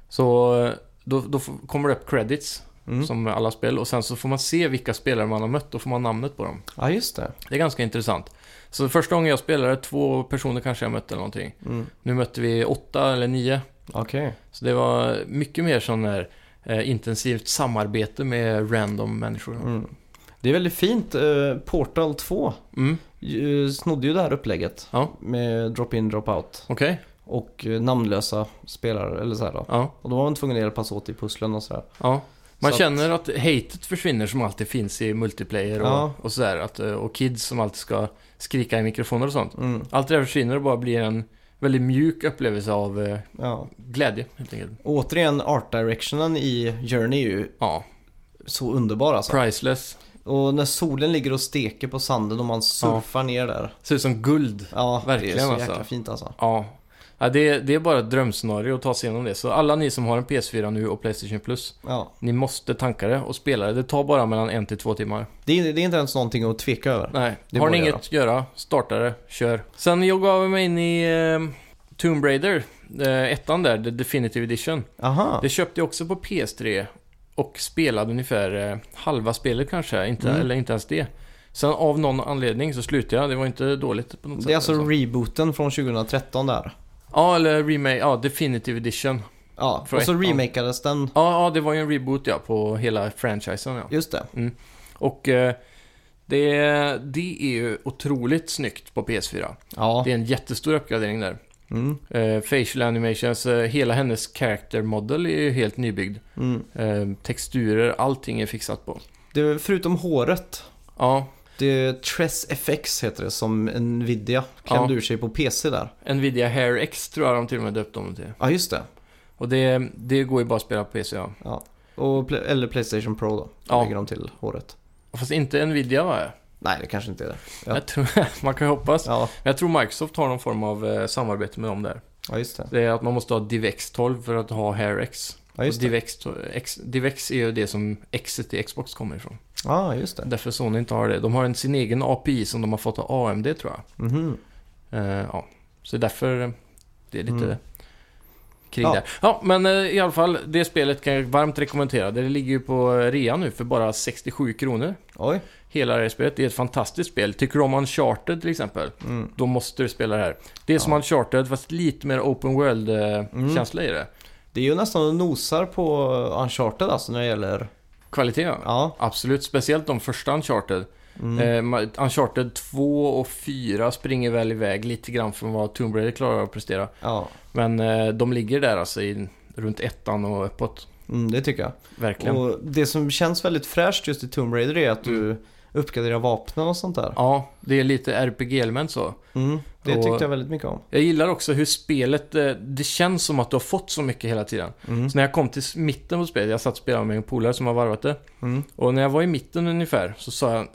Speaker 2: Så eh, då, då får- kommer det upp credits,
Speaker 1: Mm.
Speaker 2: som med alla spel, och sen så får man se vilka spelare man har mött, då får man namnet på dem.
Speaker 1: ja, just det.
Speaker 2: Det är ganska intressant. Så första gången jag spelade, två personer kanske jag mötte eller någonting.
Speaker 1: Mm.
Speaker 2: Nu mötte vi åtta eller nio.
Speaker 1: Okej.
Speaker 2: Så det var mycket mer sån där eh, intensivt samarbete med random människor.
Speaker 1: Mm. Det är väldigt fint. eh, Portal 2
Speaker 2: Mm,
Speaker 1: ju- eh, snodde ju det här upplägget.
Speaker 2: Ja.
Speaker 1: Med drop in, drop out.
Speaker 2: okej.
Speaker 1: Och eh, namnlösa spelare eller så här då.
Speaker 2: Ja,
Speaker 1: Och då var man tvungen att hjälpas åt i pusslen och sådär.
Speaker 2: ja. Man
Speaker 1: Så att-
Speaker 2: känner att hatet försvinner som alltid finns i multiplayer och,
Speaker 1: Ja.
Speaker 2: och sådär. Att, eh, och kids som alltid ska skrika i mikrofoner och sånt.
Speaker 1: Mm,
Speaker 2: Allt det där försvinner och bara blir en väldigt mjuk upplevelse av eh,
Speaker 1: ja.
Speaker 2: glädje helt enkelt.
Speaker 1: Återigen, art directionen i Journey är ju
Speaker 2: Ja,
Speaker 1: så underbar alltså.
Speaker 2: priceless.
Speaker 1: Och när solen ligger och steker på sanden och man surfar ner där.
Speaker 2: Ser ut som guld.
Speaker 1: Ja,
Speaker 2: Verkligen,
Speaker 1: det är så
Speaker 2: alltså.
Speaker 1: jäkla fint alltså.
Speaker 2: Ja. ja det, det är bara ett drömscenario att ta sig igenom det. Så alla ni som har en PS4 nu och Playstation Plus,
Speaker 1: Ja.
Speaker 2: ni måste tanka det och spela det. Det tar bara mellan en till två timmar.
Speaker 1: Det, är, det är inte ens någonting att tveka över.
Speaker 2: Nej,
Speaker 1: Det
Speaker 2: har ni
Speaker 1: går att
Speaker 2: inget att göra, starta det, kör. Sen jag gav mig in i eh, Tomb Raider, eh, ettan där, The Definitive Edition.
Speaker 1: Aha.
Speaker 2: Det köpte jag också på PS3 och spelade ungefär eh, halva spelet kanske, inte,
Speaker 1: Mm.
Speaker 2: eller inte ens det. Sen av någon anledning så slutade jag, det var inte dåligt på något sätt.
Speaker 1: Det är alltså
Speaker 2: alltså.
Speaker 1: rebooten från 2013 där.
Speaker 2: Ja, eller remake, ja, Definitive Edition.
Speaker 1: Ja,
Speaker 2: Från
Speaker 1: och så
Speaker 2: ettan.
Speaker 1: remakades den.
Speaker 2: Ja, ja, det var ju en reboot ja, på hela franchisen ja.
Speaker 1: Just det.
Speaker 2: Och eh, det, det är ju otroligt snyggt på PS4.
Speaker 1: Ja.
Speaker 2: Det är en jättestor uppgradering där.
Speaker 1: Mm.
Speaker 2: Eh, facial animations, eh, hela hennes character model är ju helt nybyggd.
Speaker 1: Mm.
Speaker 2: Eh, texturer, allting är fixat på.
Speaker 1: Det, förutom håret.
Speaker 2: Ja,
Speaker 1: Det är Tress FX heter det som Nvidia klämde
Speaker 2: Ja.
Speaker 1: ur sig på PC där.
Speaker 2: Nvidia Hair X tror jag de till och med döpte om det till.
Speaker 1: Ja, just det.
Speaker 2: Och det, det går ju bara att spela på PC ja.
Speaker 1: Och, Pla- eller Playstation Pro då.
Speaker 2: Ja.
Speaker 1: Lägger de till håret.
Speaker 2: Fast inte Nvidia va?
Speaker 1: Nej, det kanske inte är det. Ja.
Speaker 2: Jag tror, man kan ju hoppas.
Speaker 1: Ja,
Speaker 2: Men Jag tror Microsoft har någon form av eh, samarbete med dem där.
Speaker 1: ja just det.
Speaker 2: Det är att man måste ha DivX 12 för att ha Hair X.
Speaker 1: Ja,
Speaker 2: Och
Speaker 1: just det.
Speaker 2: DivX, to- X, DivX är ju det som Xet i Xbox kommer ifrån.
Speaker 1: Ja, just det.
Speaker 2: Därför Sony inte har det. De har en, sin egen API som de har fått av AMD tror jag.
Speaker 1: Mhm.
Speaker 2: Eh, ja. Så därför eh, det är lite
Speaker 1: Mm.
Speaker 2: krig
Speaker 1: Ja.
Speaker 2: där. Ja, men eh, i alla fall det spelet kan jag varmt rekommendera. Det ligger ju på eh, rea nu för bara 67 kronor.
Speaker 1: Oj.
Speaker 2: Hela det här spelet. Det är ett fantastiskt spel. Tycker du om Uncharted till exempel,
Speaker 1: Mm.
Speaker 2: då måste du spela det här. Det är som
Speaker 1: Ja.
Speaker 2: Uncharted fast lite mer open
Speaker 1: Mm.
Speaker 2: world-känsla i det.
Speaker 1: Det är ju nästan att nosar på Uncharted alltså när det gäller...
Speaker 2: Kvalitet ja.
Speaker 1: Ja.
Speaker 2: Absolut, speciellt de första Uncharted.
Speaker 1: Mm.
Speaker 2: Eh, ma- Uncharted 2 och 4 springer väl iväg lite grann från vad Tomb Raider klarar av att prestera.
Speaker 1: Ja.
Speaker 2: Men eh, de ligger där alltså i, runt ettan och uppåt.
Speaker 1: Mm, det tycker jag.
Speaker 2: Verkligen. Mm.
Speaker 1: Och det som känns väldigt fräscht just i Tomb Raider är att du uppgraderar vapnen och sånt där.
Speaker 2: Ja, det är lite RPG-element så.
Speaker 1: Mm. Det
Speaker 2: Och-
Speaker 1: tyckte jag väldigt mycket om.
Speaker 2: Jag gillar också hur spelet, eh, det känns som att du har fått så mycket hela tiden.
Speaker 1: Mm.
Speaker 2: Så när jag kom till s- mitten på spelet, jag satt och spelade med en polare som har varvat det.
Speaker 1: Mm.
Speaker 2: Och när jag var i mitten ungefär så sa jag,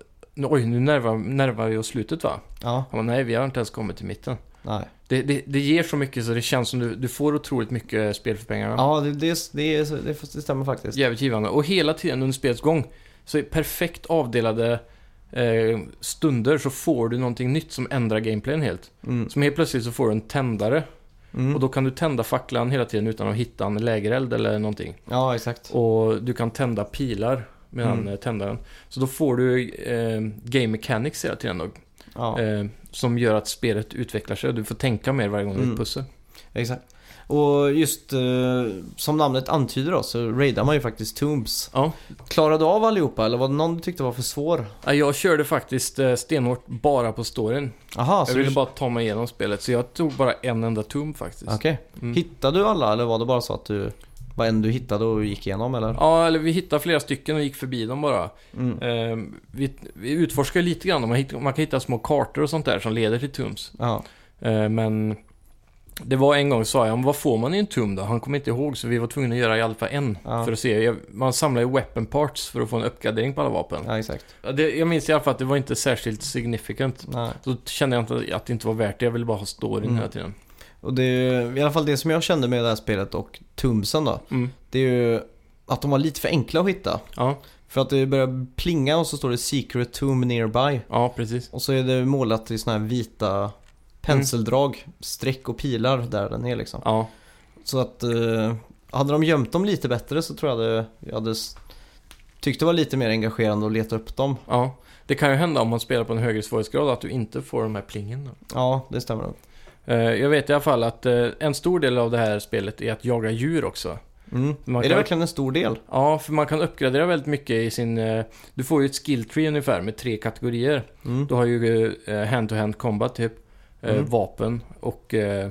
Speaker 2: oj nu närmar, närmar vi oss slutet va?
Speaker 1: Ja,
Speaker 2: Han bara, nej vi har inte ens kommit till mitten.
Speaker 1: nej.
Speaker 2: Det, det, det ger så mycket så det känns som du, du får otroligt mycket spel för pengarna.
Speaker 1: Ja, det, det, det, det, det stämmer faktiskt.
Speaker 2: Jävligt givande. Och hela tiden under spelets gång så är perfekt avdelade eh, stunder så får du någonting nytt som ändrar gameplayen helt.
Speaker 1: Mm.
Speaker 2: Som helt plötsligt så får du en tändare
Speaker 1: Mm.
Speaker 2: och då kan du tända facklan hela tiden utan att hitta en lägereld eller någonting.
Speaker 1: Ja, exakt.
Speaker 2: Och du kan tända pilar med den
Speaker 1: Mm.
Speaker 2: eh, tändaren. Så då får du eh, game mechanics hela tiden då,
Speaker 1: Ja,
Speaker 2: eh, Som gör att spelet utvecklar sig och du får tänka mer varje gång du är
Speaker 1: Mm.
Speaker 2: ett pussel.
Speaker 1: exakt. Och just eh, som namnet antyder då så raidar man ju faktiskt Tombs.
Speaker 2: Ja.
Speaker 1: Klarade du av allihopa eller var det någon du tyckte var för svår?
Speaker 2: Ja, Jag körde faktiskt eh, stenhårt bara på storyn.
Speaker 1: Aha, så
Speaker 2: jag ville
Speaker 1: Alltså, du...
Speaker 2: bara ta mig igenom spelet, så jag tog bara en enda tum faktiskt.
Speaker 1: Okej.
Speaker 2: Mm.
Speaker 1: Hittade du alla eller var det bara så att du... Vad en du hittade och gick igenom eller?
Speaker 2: Ja, eller vi hittade flera stycken och gick förbi dem bara.
Speaker 1: Mm.
Speaker 2: Ehm, vi, vi utforskar lite grann, man, hitt, man kan hitta små kartor och sånt där som leder till tums.
Speaker 1: Ja.
Speaker 2: Ehm, men det var en gång sa jag, "Men vad får man i en tum då? Han kom inte ihåg, så vi var tvungna att göra i alla fall en.
Speaker 1: Ja.
Speaker 2: För att se, jag, man samlar ju weapon parts för att få en uppgradering på alla vapen.
Speaker 1: ja, exakt.
Speaker 2: Ja, Det, jag minns i alla fall att det var inte särskilt significant.
Speaker 1: Nej.
Speaker 2: Då kände jag inte att det inte var värt det, jag ville bara ha storyn
Speaker 1: Mm.
Speaker 2: hela tiden.
Speaker 1: Och det är ju- i alla fall det som jag kände med det här spelet och Tombsen då.
Speaker 2: Mm.
Speaker 1: Det är ju att de var lite för enkla att hitta.
Speaker 2: Ja,
Speaker 1: För att det börjar plinga och så står det Secret Tomb Nearby.
Speaker 2: ja, precis.
Speaker 1: Och så är det målat i såna här vita penseldrag, streck och pilar där den är liksom.
Speaker 2: Ja,
Speaker 1: Så att eh, hade de gömt dem lite bättre så tror jag det, jag hade s- tyckt det var lite mer engagerande att leta upp dem.
Speaker 2: ja. Det kan ju hända om man spelar på en högre svårighetsgrad att du inte får de här plingen. Då.
Speaker 1: Ja, det stämmer nog.
Speaker 2: Eh, Jag vet i alla fall att eh, en stor del av det här spelet är att jaga djur också.
Speaker 1: Mm.
Speaker 2: Man
Speaker 1: Är det
Speaker 2: kan-
Speaker 1: verkligen en stor del?
Speaker 2: Ja, för man kan uppgradera väldigt mycket i sin... eh, Du får ju ett skill tree ungefär med tre kategorier.
Speaker 1: Mm.
Speaker 2: Du har ju eh, hand-to-hand combat typ, eh,
Speaker 1: Mm.
Speaker 2: vapen och eh,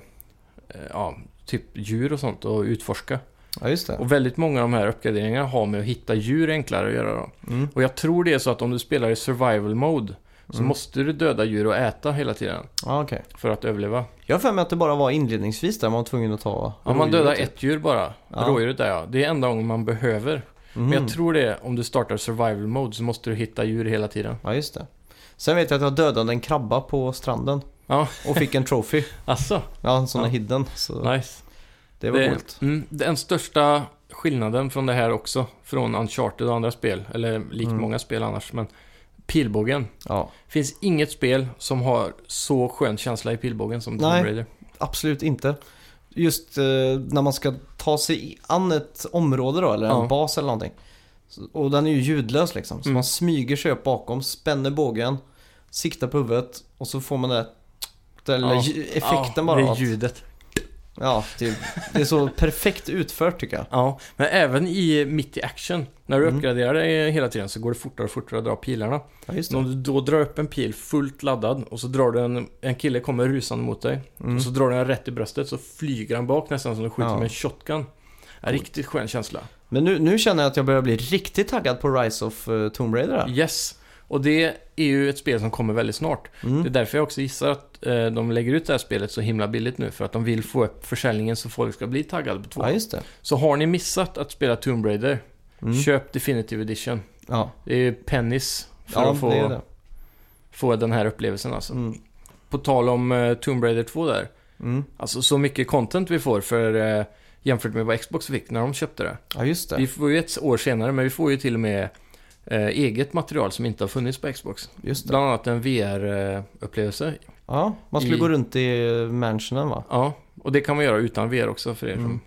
Speaker 2: eh, ja, typ djur och sånt och utforska.
Speaker 1: Ja, just det.
Speaker 2: Och väldigt många av de här uppgraderingarna har med att hitta djur enklare att göra då.
Speaker 1: Mm.
Speaker 2: Och jag tror det är så att om du spelar i survival mode så
Speaker 1: Mm.
Speaker 2: måste du döda djur och äta hela tiden
Speaker 1: Ja, okej.
Speaker 2: för att överleva.
Speaker 1: Jag har för mig att det bara var inledningsvis där man var tvungen att ta
Speaker 2: Om man
Speaker 1: rådjuret,
Speaker 2: dödar
Speaker 1: typ.
Speaker 2: ett djur bara,
Speaker 1: Ja.
Speaker 2: rådjuret där ja, det är enda gången man behöver.
Speaker 1: Mhm.
Speaker 2: Men jag tror det är om du startar survival mode så måste du hitta djur hela tiden.
Speaker 1: Ja, just det. Sen vet jag att jag dödade en krabba på stranden.
Speaker 2: Ja.
Speaker 1: Och fick en trophy.
Speaker 2: Alltså,
Speaker 1: Ja, en sån
Speaker 2: Ja.
Speaker 1: där hidden. Så
Speaker 2: nice.
Speaker 1: det var coolt.
Speaker 2: Mm, den största skillnaden från det här också, från Uncharted och andra spel, eller likt
Speaker 1: Mm.
Speaker 2: många spel annars, men pilbågen.
Speaker 1: Ja,
Speaker 2: finns inget spel som har så skön känsla i pilbågen som
Speaker 1: Nej.
Speaker 2: Tomb Raider.
Speaker 1: absolut inte. Just eh, när man ska ta sig i- an ett område då, eller
Speaker 2: Ja.
Speaker 1: en bas eller någonting. Så- Och den är ju ljudlös liksom. Så
Speaker 2: Mm.
Speaker 1: man smyger sig upp bakom, spänner bågen, siktar på huvudet och så får man det där- den lilla
Speaker 2: Ja.
Speaker 1: lju- effekten
Speaker 2: ja,
Speaker 1: bara.
Speaker 2: Det är
Speaker 1: att-
Speaker 2: ljudet.
Speaker 1: Ja, typ. Det är så perfekt utfört tycker jag.
Speaker 2: Ja, men även i mitt i action. När du
Speaker 1: Mm.
Speaker 2: uppgraderar dig hela tiden så går det fortare och fortare att dra pilarna.
Speaker 1: Ja, just
Speaker 2: Så om
Speaker 1: det.
Speaker 2: du då drar upp en pil fullt laddad och så drar du en, en kille kommer rusande mot dig.
Speaker 1: Mm.
Speaker 2: Och så drar du den rätt i bröstet så flyger han bak nästan som du skjuter
Speaker 1: Ja.
Speaker 2: med en shotgun. Ja, riktigt skön känsla.
Speaker 1: Men nu, nu känner jag att jag börjar bli riktigt taggad på Rise of eh, Tomb Raider här.
Speaker 2: Yes. Och det är ju ett spel som kommer väldigt snart.
Speaker 1: Mm.
Speaker 2: Det är därför jag också gissar att eh, de lägger ut det här spelet så himla billigt nu. För att de vill få upp försäljningen så folk ska bli taggade på två.
Speaker 1: Ja, just det.
Speaker 2: Så har ni missat att spela Tomb Raider,
Speaker 1: Mm.
Speaker 2: köp Definitive Edition.
Speaker 1: Ja,
Speaker 2: Det är pennis för
Speaker 1: ja
Speaker 2: att
Speaker 1: det är
Speaker 2: få,
Speaker 1: det.
Speaker 2: få den här upplevelsen alltså.
Speaker 1: Mm.
Speaker 2: På tal om eh, Tomb Raider 2 där.
Speaker 1: Mm.
Speaker 2: Alltså så mycket content vi får för eh, jämfört med vad Xbox fick när de köpte det.
Speaker 1: Ja, just
Speaker 2: Vi
Speaker 1: det.
Speaker 2: får ju ett år senare, men vi får ju till och med eh, eget material som inte har funnits på Xbox.
Speaker 1: Just det.
Speaker 2: Bland annat en VR-upplevelse.
Speaker 1: Ja, man skulle
Speaker 2: i-
Speaker 1: gå runt i eh, mansionen va?
Speaker 2: Ja, och det kan man göra utan VR också för er som
Speaker 1: Mm.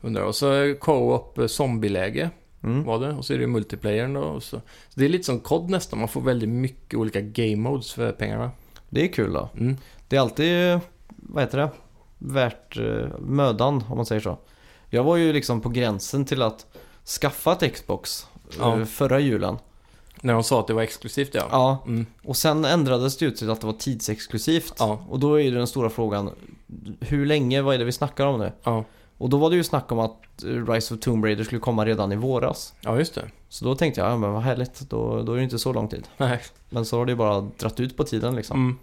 Speaker 2: undrar. Och så eh, co-op eh, zombieläge
Speaker 1: Mm.
Speaker 2: var det. Och så är det ju multiplayern då. Och så. så det är lite som COD nästan. Man får väldigt mycket olika game modes för pengarna.
Speaker 1: Det är kul då.
Speaker 2: Mm.
Speaker 1: Det är alltid, eh, vad heter det, värt eh, mödan om man säger så. Jag var ju liksom på gränsen till att skaffa ett Xbox eh,
Speaker 2: Ja.
Speaker 1: förra julen.
Speaker 2: När de sa att det var exklusivt ja.
Speaker 1: Ja,
Speaker 2: Mm.
Speaker 1: Och sen ändrades det ju till att det var tidsexklusivt.
Speaker 2: Ja.
Speaker 1: Och då är ju den stora frågan, hur länge, vad är det vi snackar om nu?
Speaker 2: Ja.
Speaker 1: Och då var det ju snack om att eh, Rise of Tomb Raider skulle komma redan i våras.
Speaker 2: ja, just det.
Speaker 1: Så då tänkte jag, ja men vad härligt, då, då är det inte så lång tid.
Speaker 2: Nej.
Speaker 1: Men så har det ju bara dratt ut på tiden liksom.
Speaker 2: Mm.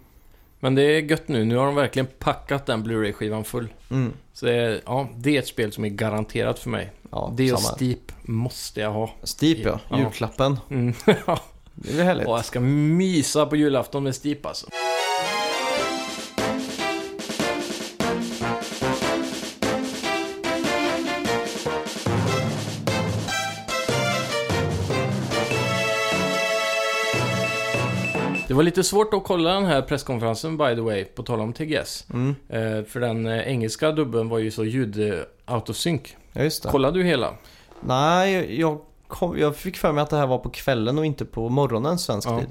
Speaker 2: Men det är gött nu. Nu har de verkligen packat den Blu-ray-skivan full.
Speaker 1: Mm.
Speaker 2: Så det är, ja, det är ett spel som är garanterat för mig.
Speaker 1: Ja,
Speaker 2: det och
Speaker 1: samma.
Speaker 2: Steep måste jag ha.
Speaker 1: Steep ja,
Speaker 2: Ja.
Speaker 1: julklappen.
Speaker 2: Mm.
Speaker 1: Det är väl härligt.
Speaker 2: och jag ska mysa på julafton med Steep alltså. Det var lite svårt att kolla den här presskonferensen by the way, på tal om TGS.
Speaker 1: Mm.
Speaker 2: Eh, för den eh, engelska dubben var ju så ljud-autosynk.
Speaker 1: Ja just det.
Speaker 2: Kollade du hela?
Speaker 1: Nej, jag, kom, jag fick för mig att det här var på kvällen och inte på morgonen svensk
Speaker 2: Ja.
Speaker 1: tid.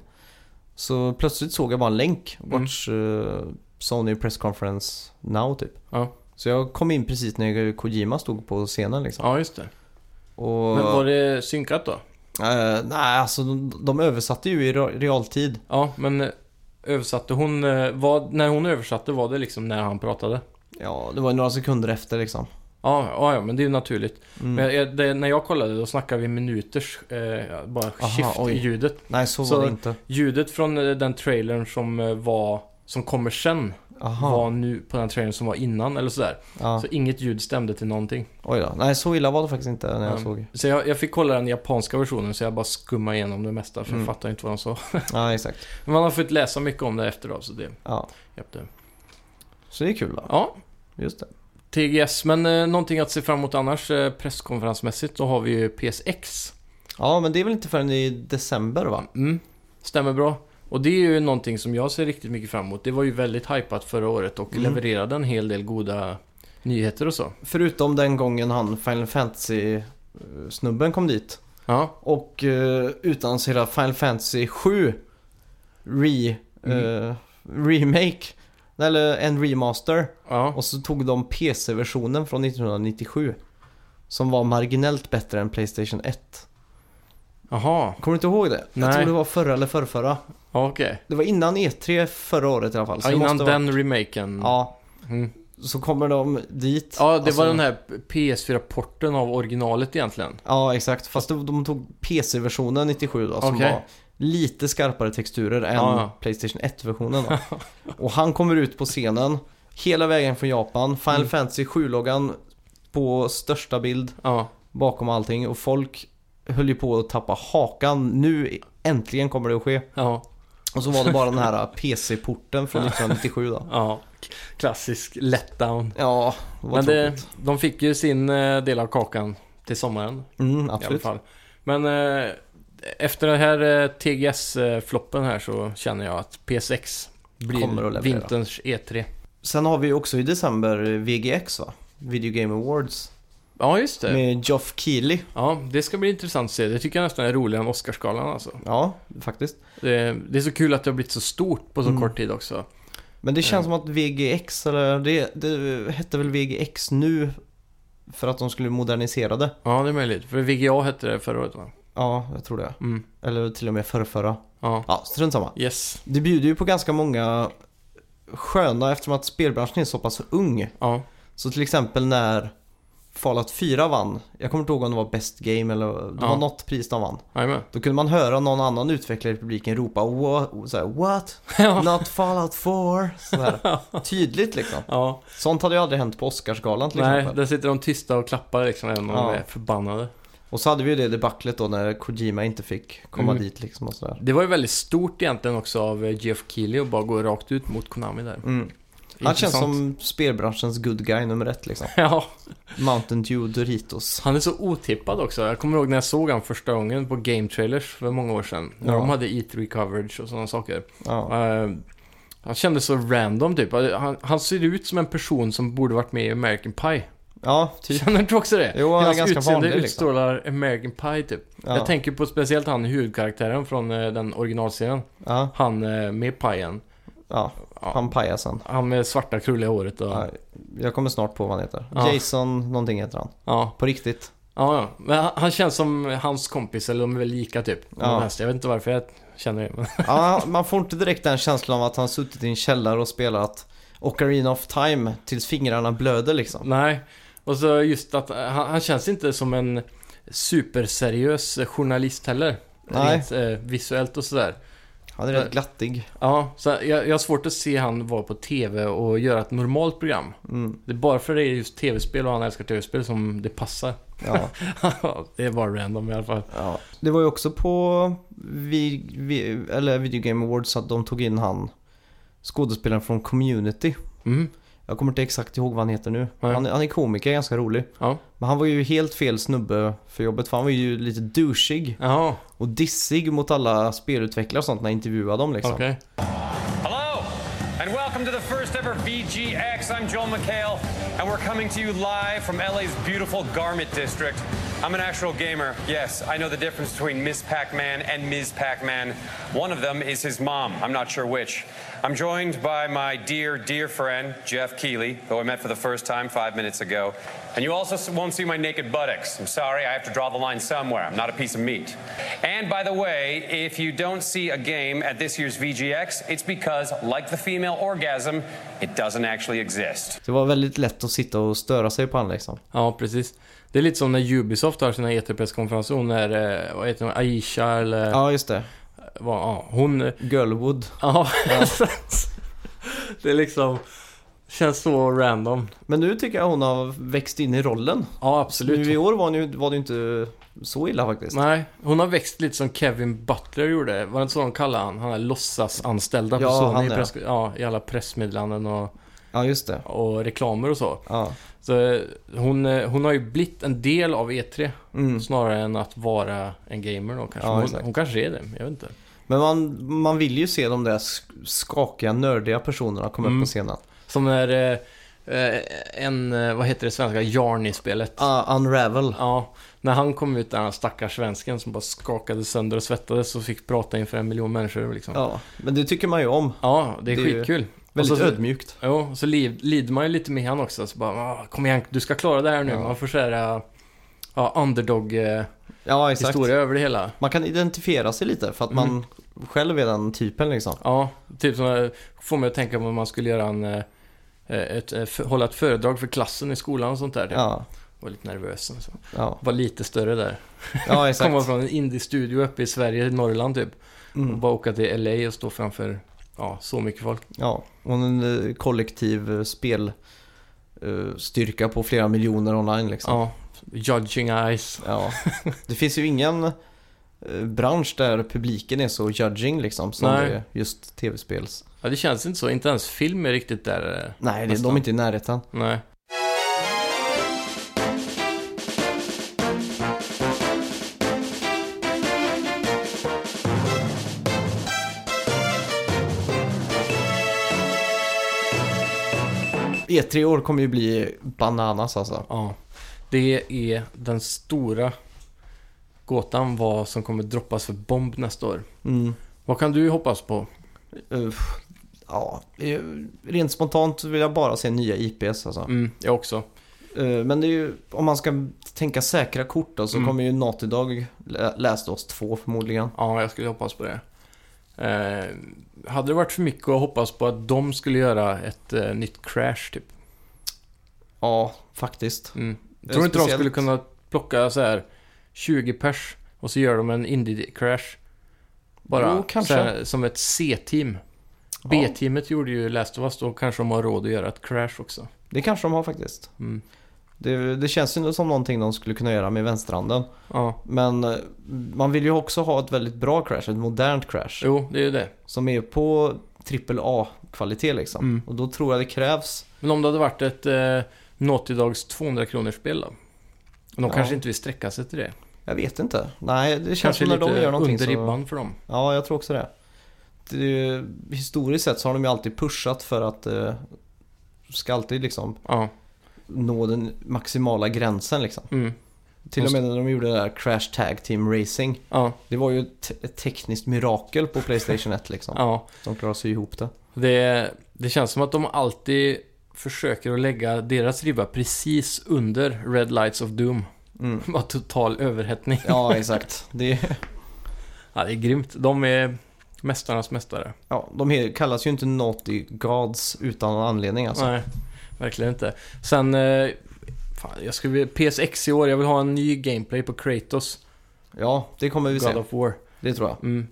Speaker 1: Så plötsligt såg jag bara en länk.
Speaker 2: Mm.
Speaker 1: Watch eh, Sony Press Conference Now typ.
Speaker 2: Ja.
Speaker 1: Så jag kom in precis när Kojima stod på scenen liksom.
Speaker 2: Ja, just det.
Speaker 1: Och,
Speaker 2: Men var det synkat då?
Speaker 1: eh, nej, alltså de, de översatte ju i re- realtid.
Speaker 2: Ja, men eh, översatte hon... eh, Vad, när hon översatte var det liksom när han pratade?
Speaker 1: Ja, det var ju några sekunder efter liksom.
Speaker 2: Ja, ja, ja men det är ju naturligt.
Speaker 1: Mm.
Speaker 2: Men jag- det, när jag kollade då snackade vi minuters eh, bara
Speaker 1: Aha,
Speaker 2: shift
Speaker 1: oj.
Speaker 2: i ljudet.
Speaker 1: nej, så,
Speaker 2: så-
Speaker 1: var det inte.
Speaker 2: Ljudet från eh, den trailern som eh, var... Som kommer sen
Speaker 1: Aha.
Speaker 2: var nu på den trailern som var innan eller sådär.
Speaker 1: Ja.
Speaker 2: Så inget ljud stämde till någonting.
Speaker 1: Oj då. Nej, så illa var det faktiskt inte när jag
Speaker 2: Ja.
Speaker 1: såg.
Speaker 2: Så jag, jag fick kolla den japanska versionen så jag bara skummade igenom det mesta för jag
Speaker 1: Mm.
Speaker 2: fattar inte vad de sa.
Speaker 1: Nej, exakt.
Speaker 2: Men man har fått läsa mycket om det efteråt så det
Speaker 1: Ja.
Speaker 2: hjälpte.
Speaker 1: Så det är kul då.
Speaker 2: Ja,
Speaker 1: Just det.
Speaker 2: TGS, men eh, någonting att se fram emot annars eh, presskonferensmässigt, då har vi ju PSX.
Speaker 1: Ja, men det är väl inte förrän i december va?
Speaker 2: Mm, stämmer bra. Och det är ju någonting som jag ser riktigt mycket fram emot. Det var ju väldigt hypat förra året och
Speaker 1: Mm.
Speaker 2: levererade en hel del goda nyheter och så.
Speaker 1: Förutom den gången han Final Fantasy-snubben kom dit.
Speaker 2: Ja,
Speaker 1: Och uh, utannonserade Final Fantasy 7 re,
Speaker 2: Mm.
Speaker 1: eh, Remake. Eller en remaster.
Speaker 2: ja,
Speaker 1: Och så tog de PC-versionen från 1997. Som var marginellt bättre än Playstation 1.
Speaker 2: jaha,
Speaker 1: Kommer du inte ihåg det?
Speaker 2: Nej.
Speaker 1: Jag tror det var förra eller förrförra.
Speaker 2: ja, okej.
Speaker 1: Det var innan E3 E förra året i alla fall. så
Speaker 2: Ja,
Speaker 1: det
Speaker 2: innan
Speaker 1: måste vara-
Speaker 2: den remaken.
Speaker 1: Ja,
Speaker 2: Mm.
Speaker 1: Så kommer de dit.
Speaker 2: Ja, det
Speaker 1: Alltså-
Speaker 2: var den här PS4-porten av originalet egentligen.
Speaker 1: Ja, exakt. Fast de, de tog PC-versionen 97 då, som
Speaker 2: Okej.
Speaker 1: var lite skarpare texturer än
Speaker 2: Ja, ja.
Speaker 1: Playstation 1-versionen. då. och han kommer ut på scenen, hela vägen från Japan, Final
Speaker 2: Mm.
Speaker 1: Fantasy 7-loggan på största bild
Speaker 2: Ja,
Speaker 1: bakom allting och folk höll ju på att tappa hakan. Nu äntligen kommer det att ske.
Speaker 2: ja,
Speaker 1: Och så var det bara den här PC-porten från 1997 då.
Speaker 2: ja. K- Klassisk letdown.
Speaker 1: Ja, vad
Speaker 2: Men det,
Speaker 1: tråkigt.
Speaker 2: de fick ju sin eh, del av kakan till sommaren
Speaker 1: Mm,
Speaker 2: i alla
Speaker 1: absolut.
Speaker 2: fall. Men eh, efter den här eh, TGS-floppen här så känner jag att PS6
Speaker 1: Kommer att
Speaker 2: blir
Speaker 1: leverera.
Speaker 2: vinterns E E3. Sen-
Speaker 1: Sen har vi ju också i december VGX va? Video Game Awards.
Speaker 2: Ja, just det.
Speaker 1: Med Geoff Keighley.
Speaker 2: Ja, det ska bli intressant att se. Det tycker jag nästan är roligare än Oscarsgalan alltså.
Speaker 1: Ja, faktiskt.
Speaker 2: Det, det är så kul att det har blivit så stort på så
Speaker 1: Mm.
Speaker 2: kort tid också.
Speaker 1: Men det känns som
Speaker 2: Mm.
Speaker 1: att VGX, eller det, det hette väl VGX nu för att de skulle modernisera det.
Speaker 2: Ja, det är möjligt. För VGA hette det förra året va?
Speaker 1: Ja, jag tror det.
Speaker 2: Mm.
Speaker 1: Eller till och med förrförra.
Speaker 2: Ja.
Speaker 1: Ja, strunt samma.
Speaker 2: Yes.
Speaker 1: Det bjuder ju på ganska många sköna eftersom att spelbranschen är så pass ung.
Speaker 2: Ja.
Speaker 1: Så till exempel när Fallout 4 vann, jag kommer inte ihåg om det var Best Game eller det
Speaker 2: Ja.
Speaker 1: var något pris de vann.
Speaker 2: Jajamän.
Speaker 1: Då kunde man höra någon annan utvecklare i publiken ropa "Wha- så här, What?
Speaker 2: Ja.
Speaker 1: Not Fallout 4? Så här. Tydligt liksom.
Speaker 2: ja.
Speaker 1: Sånt hade ju aldrig hänt på Oscarsgalan till
Speaker 2: Nej,
Speaker 1: exempel.
Speaker 2: där sitter de tysta och klappar liksom även om
Speaker 1: Ja.
Speaker 2: de är förbannade.
Speaker 1: Och så hade vi ju det debaclet då när Kojima inte fick komma
Speaker 2: Mm.
Speaker 1: dit liksom och sådär.
Speaker 2: Det var ju väldigt stort egentligen också av eh, Geoff Keighley att bara gå rakt ut mot Konami där.
Speaker 1: Mm. Han känns
Speaker 2: Intressant.
Speaker 1: som spelbranschens good guy nummer ett liksom.
Speaker 2: Ja,
Speaker 1: Mountain Dew Doritos.
Speaker 2: han är så otippad också. Jag kommer ihåg när jag såg han första gången på Game Trailers för många år sedan. När
Speaker 1: Ja.
Speaker 2: de hade E3 coverage och sådana saker.
Speaker 1: Ja.
Speaker 2: Eh, han kändes så random typ. Han, han ser ut som en person som borde varit med i American Pie.
Speaker 1: ja, typ.
Speaker 2: Känner du också det?
Speaker 1: Jo, han är
Speaker 2: Hans
Speaker 1: ganska
Speaker 2: utseende
Speaker 1: vanlig, liksom.
Speaker 2: utstrålar American Pie typ.
Speaker 1: Ja.
Speaker 2: Jag tänker på speciellt han huvudkaraktären från eh, den originalserien.
Speaker 1: Ja,
Speaker 2: Han eh, med pajen.
Speaker 1: ja.
Speaker 2: Ja.
Speaker 1: Han pajasen.
Speaker 2: Han med svarta krulliga håret och... Ja.
Speaker 1: Ja. Jag kommer snart på vad han heter.
Speaker 2: Ja.
Speaker 1: Jason någonting heter han.
Speaker 2: Ja,
Speaker 1: På riktigt.
Speaker 2: ja. Men han, han känns som hans kompis, eller de är väl lika typ.
Speaker 1: Ja.
Speaker 2: Ja. Jag vet inte varför jag känner det. men-
Speaker 1: Ja, man får inte direkt den känslan av att han suttit i en källare och spelat Ocarina of Time tills fingrarna blöder liksom.
Speaker 2: Nej. Och så just att eh, han, han känns inte som en superseriös journalist heller.
Speaker 1: Nej.
Speaker 2: Rent eh, visuellt och sådär.
Speaker 1: Han är rätt glattig.
Speaker 2: Ja, så jag, jag har svårt att se han vara på TV och göra ett normalt program.
Speaker 1: Mm.
Speaker 2: Det är bara för det är just tv-spel och han älskar tv-spel som det passar.
Speaker 1: Ja.
Speaker 2: det är bara random i alla fall.
Speaker 1: Ja. Det var ju också på vi, vi, eller Video Game Awards att de tog in han skådespelaren från Community.
Speaker 2: Mm.
Speaker 1: Jag kommer inte exakt ihåg vad han heter nu.
Speaker 2: Nej.
Speaker 1: Han, han är komiker, ganska rolig.
Speaker 2: Ja.
Speaker 1: Men han var ju helt fel snubbe för jobbet för han var ju lite douchig
Speaker 2: Jaha,
Speaker 1: och dissig mot alla spelutvecklare och sånt när jag intervjuade dem liksom.
Speaker 2: okej.
Speaker 3: Hello, and welcome to the first ever VGX. I'm Joel McHale, and we're coming to you live from LA's beautiful Garment District. I'm an actual gamer. Yes, I know the difference between Miss Pac Man and Ms. Pac Man. One of them is his mom. I'm not sure which. I'm joined by my dear, dear friend, Jeff Keeley, who I met for the first time five minutes ago. And you also s- won't see my naked buttocks. I'm sorry, I have to draw the line somewhere. I'm not a piece of meat. And by the way, if you don't see a game at this year's VGX, it's because, like the female orgasm, it doesn't actually exist.
Speaker 1: Det var väldigt lätt att sitta och störa sig på han liksom.
Speaker 2: Ja, precis. Det är lite som när Ubisoft har sina E E3-presskonferenser. Hon är, eh, vad heter hon, Aisha eller... Ja.
Speaker 1: Ja just det.
Speaker 2: Vad, ja, hon... eh,
Speaker 1: Girlwood.
Speaker 2: Ja. det är liksom... Känns så random.
Speaker 1: Men nu tycker jag hon har växt in i rollen.
Speaker 2: Ja,
Speaker 1: Nu i år var, hon ju, var det ju inte så illa faktiskt.
Speaker 2: Nej, hon har växt lite som Kevin Butler gjorde. Var det inte så de kallade han? Han är låtsasanställda
Speaker 1: Ja,
Speaker 2: på Sony
Speaker 1: han
Speaker 2: i,
Speaker 1: är.
Speaker 2: press, ja, i alla pressmeddelanden och,
Speaker 1: Ja just det.
Speaker 2: och reklamer och så.
Speaker 1: Ja.
Speaker 2: Så eh, hon, eh, hon har ju blivit en del av E3 snarare än att vara en gamer då kanske.
Speaker 1: Mm. Ja,
Speaker 2: hon,
Speaker 1: exakt.
Speaker 2: hon kanske är det, jag vet inte.
Speaker 1: Men man, man vill ju se de där sk- skakiga, nördiga personerna komma
Speaker 2: Mm.
Speaker 1: upp på scenen.
Speaker 2: Som när eh, eh, en, eh, vad heter det svenska, Jarn i spelet.
Speaker 1: Ah, unravel.
Speaker 2: Ja, när han kom ut där, den stackars svensken som bara skakade sönder och svettades och fick prata inför en miljon människor liksom. Ja,
Speaker 1: Ja, men det tycker man ju om.
Speaker 2: det är
Speaker 1: Det är ju
Speaker 2: skitkul.
Speaker 1: Väldigt
Speaker 2: Och så-
Speaker 1: ödmjukt.
Speaker 2: Jo, så liv, lider man ju lite med han också. Så bara, "Ah, kom igen, du ska klara det här nu.
Speaker 1: Ja.
Speaker 2: Man får såhär, ja, underdog-historia
Speaker 1: Ja, exakt.
Speaker 2: över det hela.
Speaker 1: Man kan identifiera sig lite för att man
Speaker 2: Mm.
Speaker 1: själv är den typen liksom.
Speaker 2: Ja, typ som, får mig att tänka på om man skulle göra en, eh, eh, ett, eh, för- hålla ett föredrag för klassen i skolan och sånt där. Jag
Speaker 1: Ja,
Speaker 2: var lite nervös. och Så.
Speaker 1: ja,
Speaker 2: Var lite större där.
Speaker 1: ja
Speaker 2: Komma
Speaker 1: exakt.
Speaker 2: från en indie-studio uppe i Sverige, Norrland typ. Och
Speaker 1: Mm.
Speaker 2: bara åka till LA och stå framför ja, så mycket folk.
Speaker 1: Ja, och en eh, kollektiv eh, spel eh, styrka på flera miljoner online liksom.
Speaker 2: Ja, judging eyes.
Speaker 1: Ja, det finns ju ingen eh, bransch där publiken är så judging liksom som
Speaker 2: Nej.
Speaker 1: det är just tv-spels.
Speaker 2: Ja, det känns inte så. Inte ens film är riktigt där. eh,
Speaker 1: Nej, det, de
Speaker 2: Nästan.
Speaker 1: är inte i närheten.
Speaker 2: Nej.
Speaker 1: E3 E år kommer ju bli bananas alltså.
Speaker 2: Ja. Det är den stora gåtan vad som kommer droppas för bomb nästa år.
Speaker 1: Mm.
Speaker 2: Vad kan du hoppas på?
Speaker 1: Uff. Eh, Ja, eh, rent spontant vill jag bara se nya IPs alltså.
Speaker 2: Mm, jag också.
Speaker 1: Eh, Men det är ju, om man ska tänka säkra kort då, så
Speaker 2: Mm.
Speaker 1: kommer ju Naughty Dog lä- läste oss två förmodligen.
Speaker 2: Ja, jag skulle hoppas på det. Eh, hade det varit för mycket att hoppas på att de skulle göra ett eh, nytt crash typ?
Speaker 1: Ja, faktiskt.
Speaker 2: Mm.
Speaker 1: Det är
Speaker 2: Tror du inte de
Speaker 1: speciellt.
Speaker 2: skulle kunna plocka så här 20 pers och så gör de en indie-crash? Bara
Speaker 1: Jo, kanske.
Speaker 2: Så här, som ett C-team.
Speaker 1: Ja.
Speaker 2: B-teamet gjorde ju Last of Us, då kanske de har råd att göra ett crash också.
Speaker 1: Det kanske de har faktiskt.
Speaker 2: Mm.
Speaker 1: Det, det känns ju som någonting de skulle kunna göra med vänsterhanden.
Speaker 2: Ja,
Speaker 1: Men eh, man vill ju också ha ett väldigt bra crash, ett modernt crash.
Speaker 2: jo, det är ju det.
Speaker 1: Som är på AAA-kvalitet liksom.
Speaker 2: Mm.
Speaker 1: Och då tror jag det krävs.
Speaker 2: Men om det hade varit ett eh, Naughty Dogs 200 kronors spel då? De
Speaker 1: Ja.
Speaker 2: kanske inte vill sträcka sig till det.
Speaker 1: Jag vet inte. Nej, det känns
Speaker 2: Kanske
Speaker 1: som när
Speaker 2: lite
Speaker 1: de gör någonting
Speaker 2: under
Speaker 1: så...
Speaker 2: ribban för dem.
Speaker 1: Ja, jag tror också det. det. Historiskt sett så har de ju alltid pushat för att eh, ska alltid liksom
Speaker 2: Ja,
Speaker 1: nå den maximala gränsen liksom.
Speaker 2: mm.
Speaker 1: Till och med när de gjorde det där Crash Tag Team Racing.
Speaker 2: ja,
Speaker 1: Det var ju ett, ett tekniskt mirakel på Playstation 1 liksom.
Speaker 2: ja.
Speaker 1: De klarade sig ihop det.
Speaker 2: Det, det känns som att de alltid försöker att lägga deras ribba precis under Red Lights of Doom.
Speaker 1: Mm.
Speaker 2: Bara total överhettning.
Speaker 1: Ja, exakt. Det,
Speaker 2: Ja, det är grymt. De är mästarnas mästare.
Speaker 1: ja, de he- kallas ju inte Naughty Gods utan någon anledning alltså.
Speaker 2: Nej, verkligen inte. Sen, eh, fan, jag skulle vilja, PSX i år, jag vill ha en ny gameplay på Kratos,
Speaker 1: Ja, det kommer vi
Speaker 2: God
Speaker 1: se.
Speaker 2: of War.
Speaker 1: Det tror jag.
Speaker 2: Mm.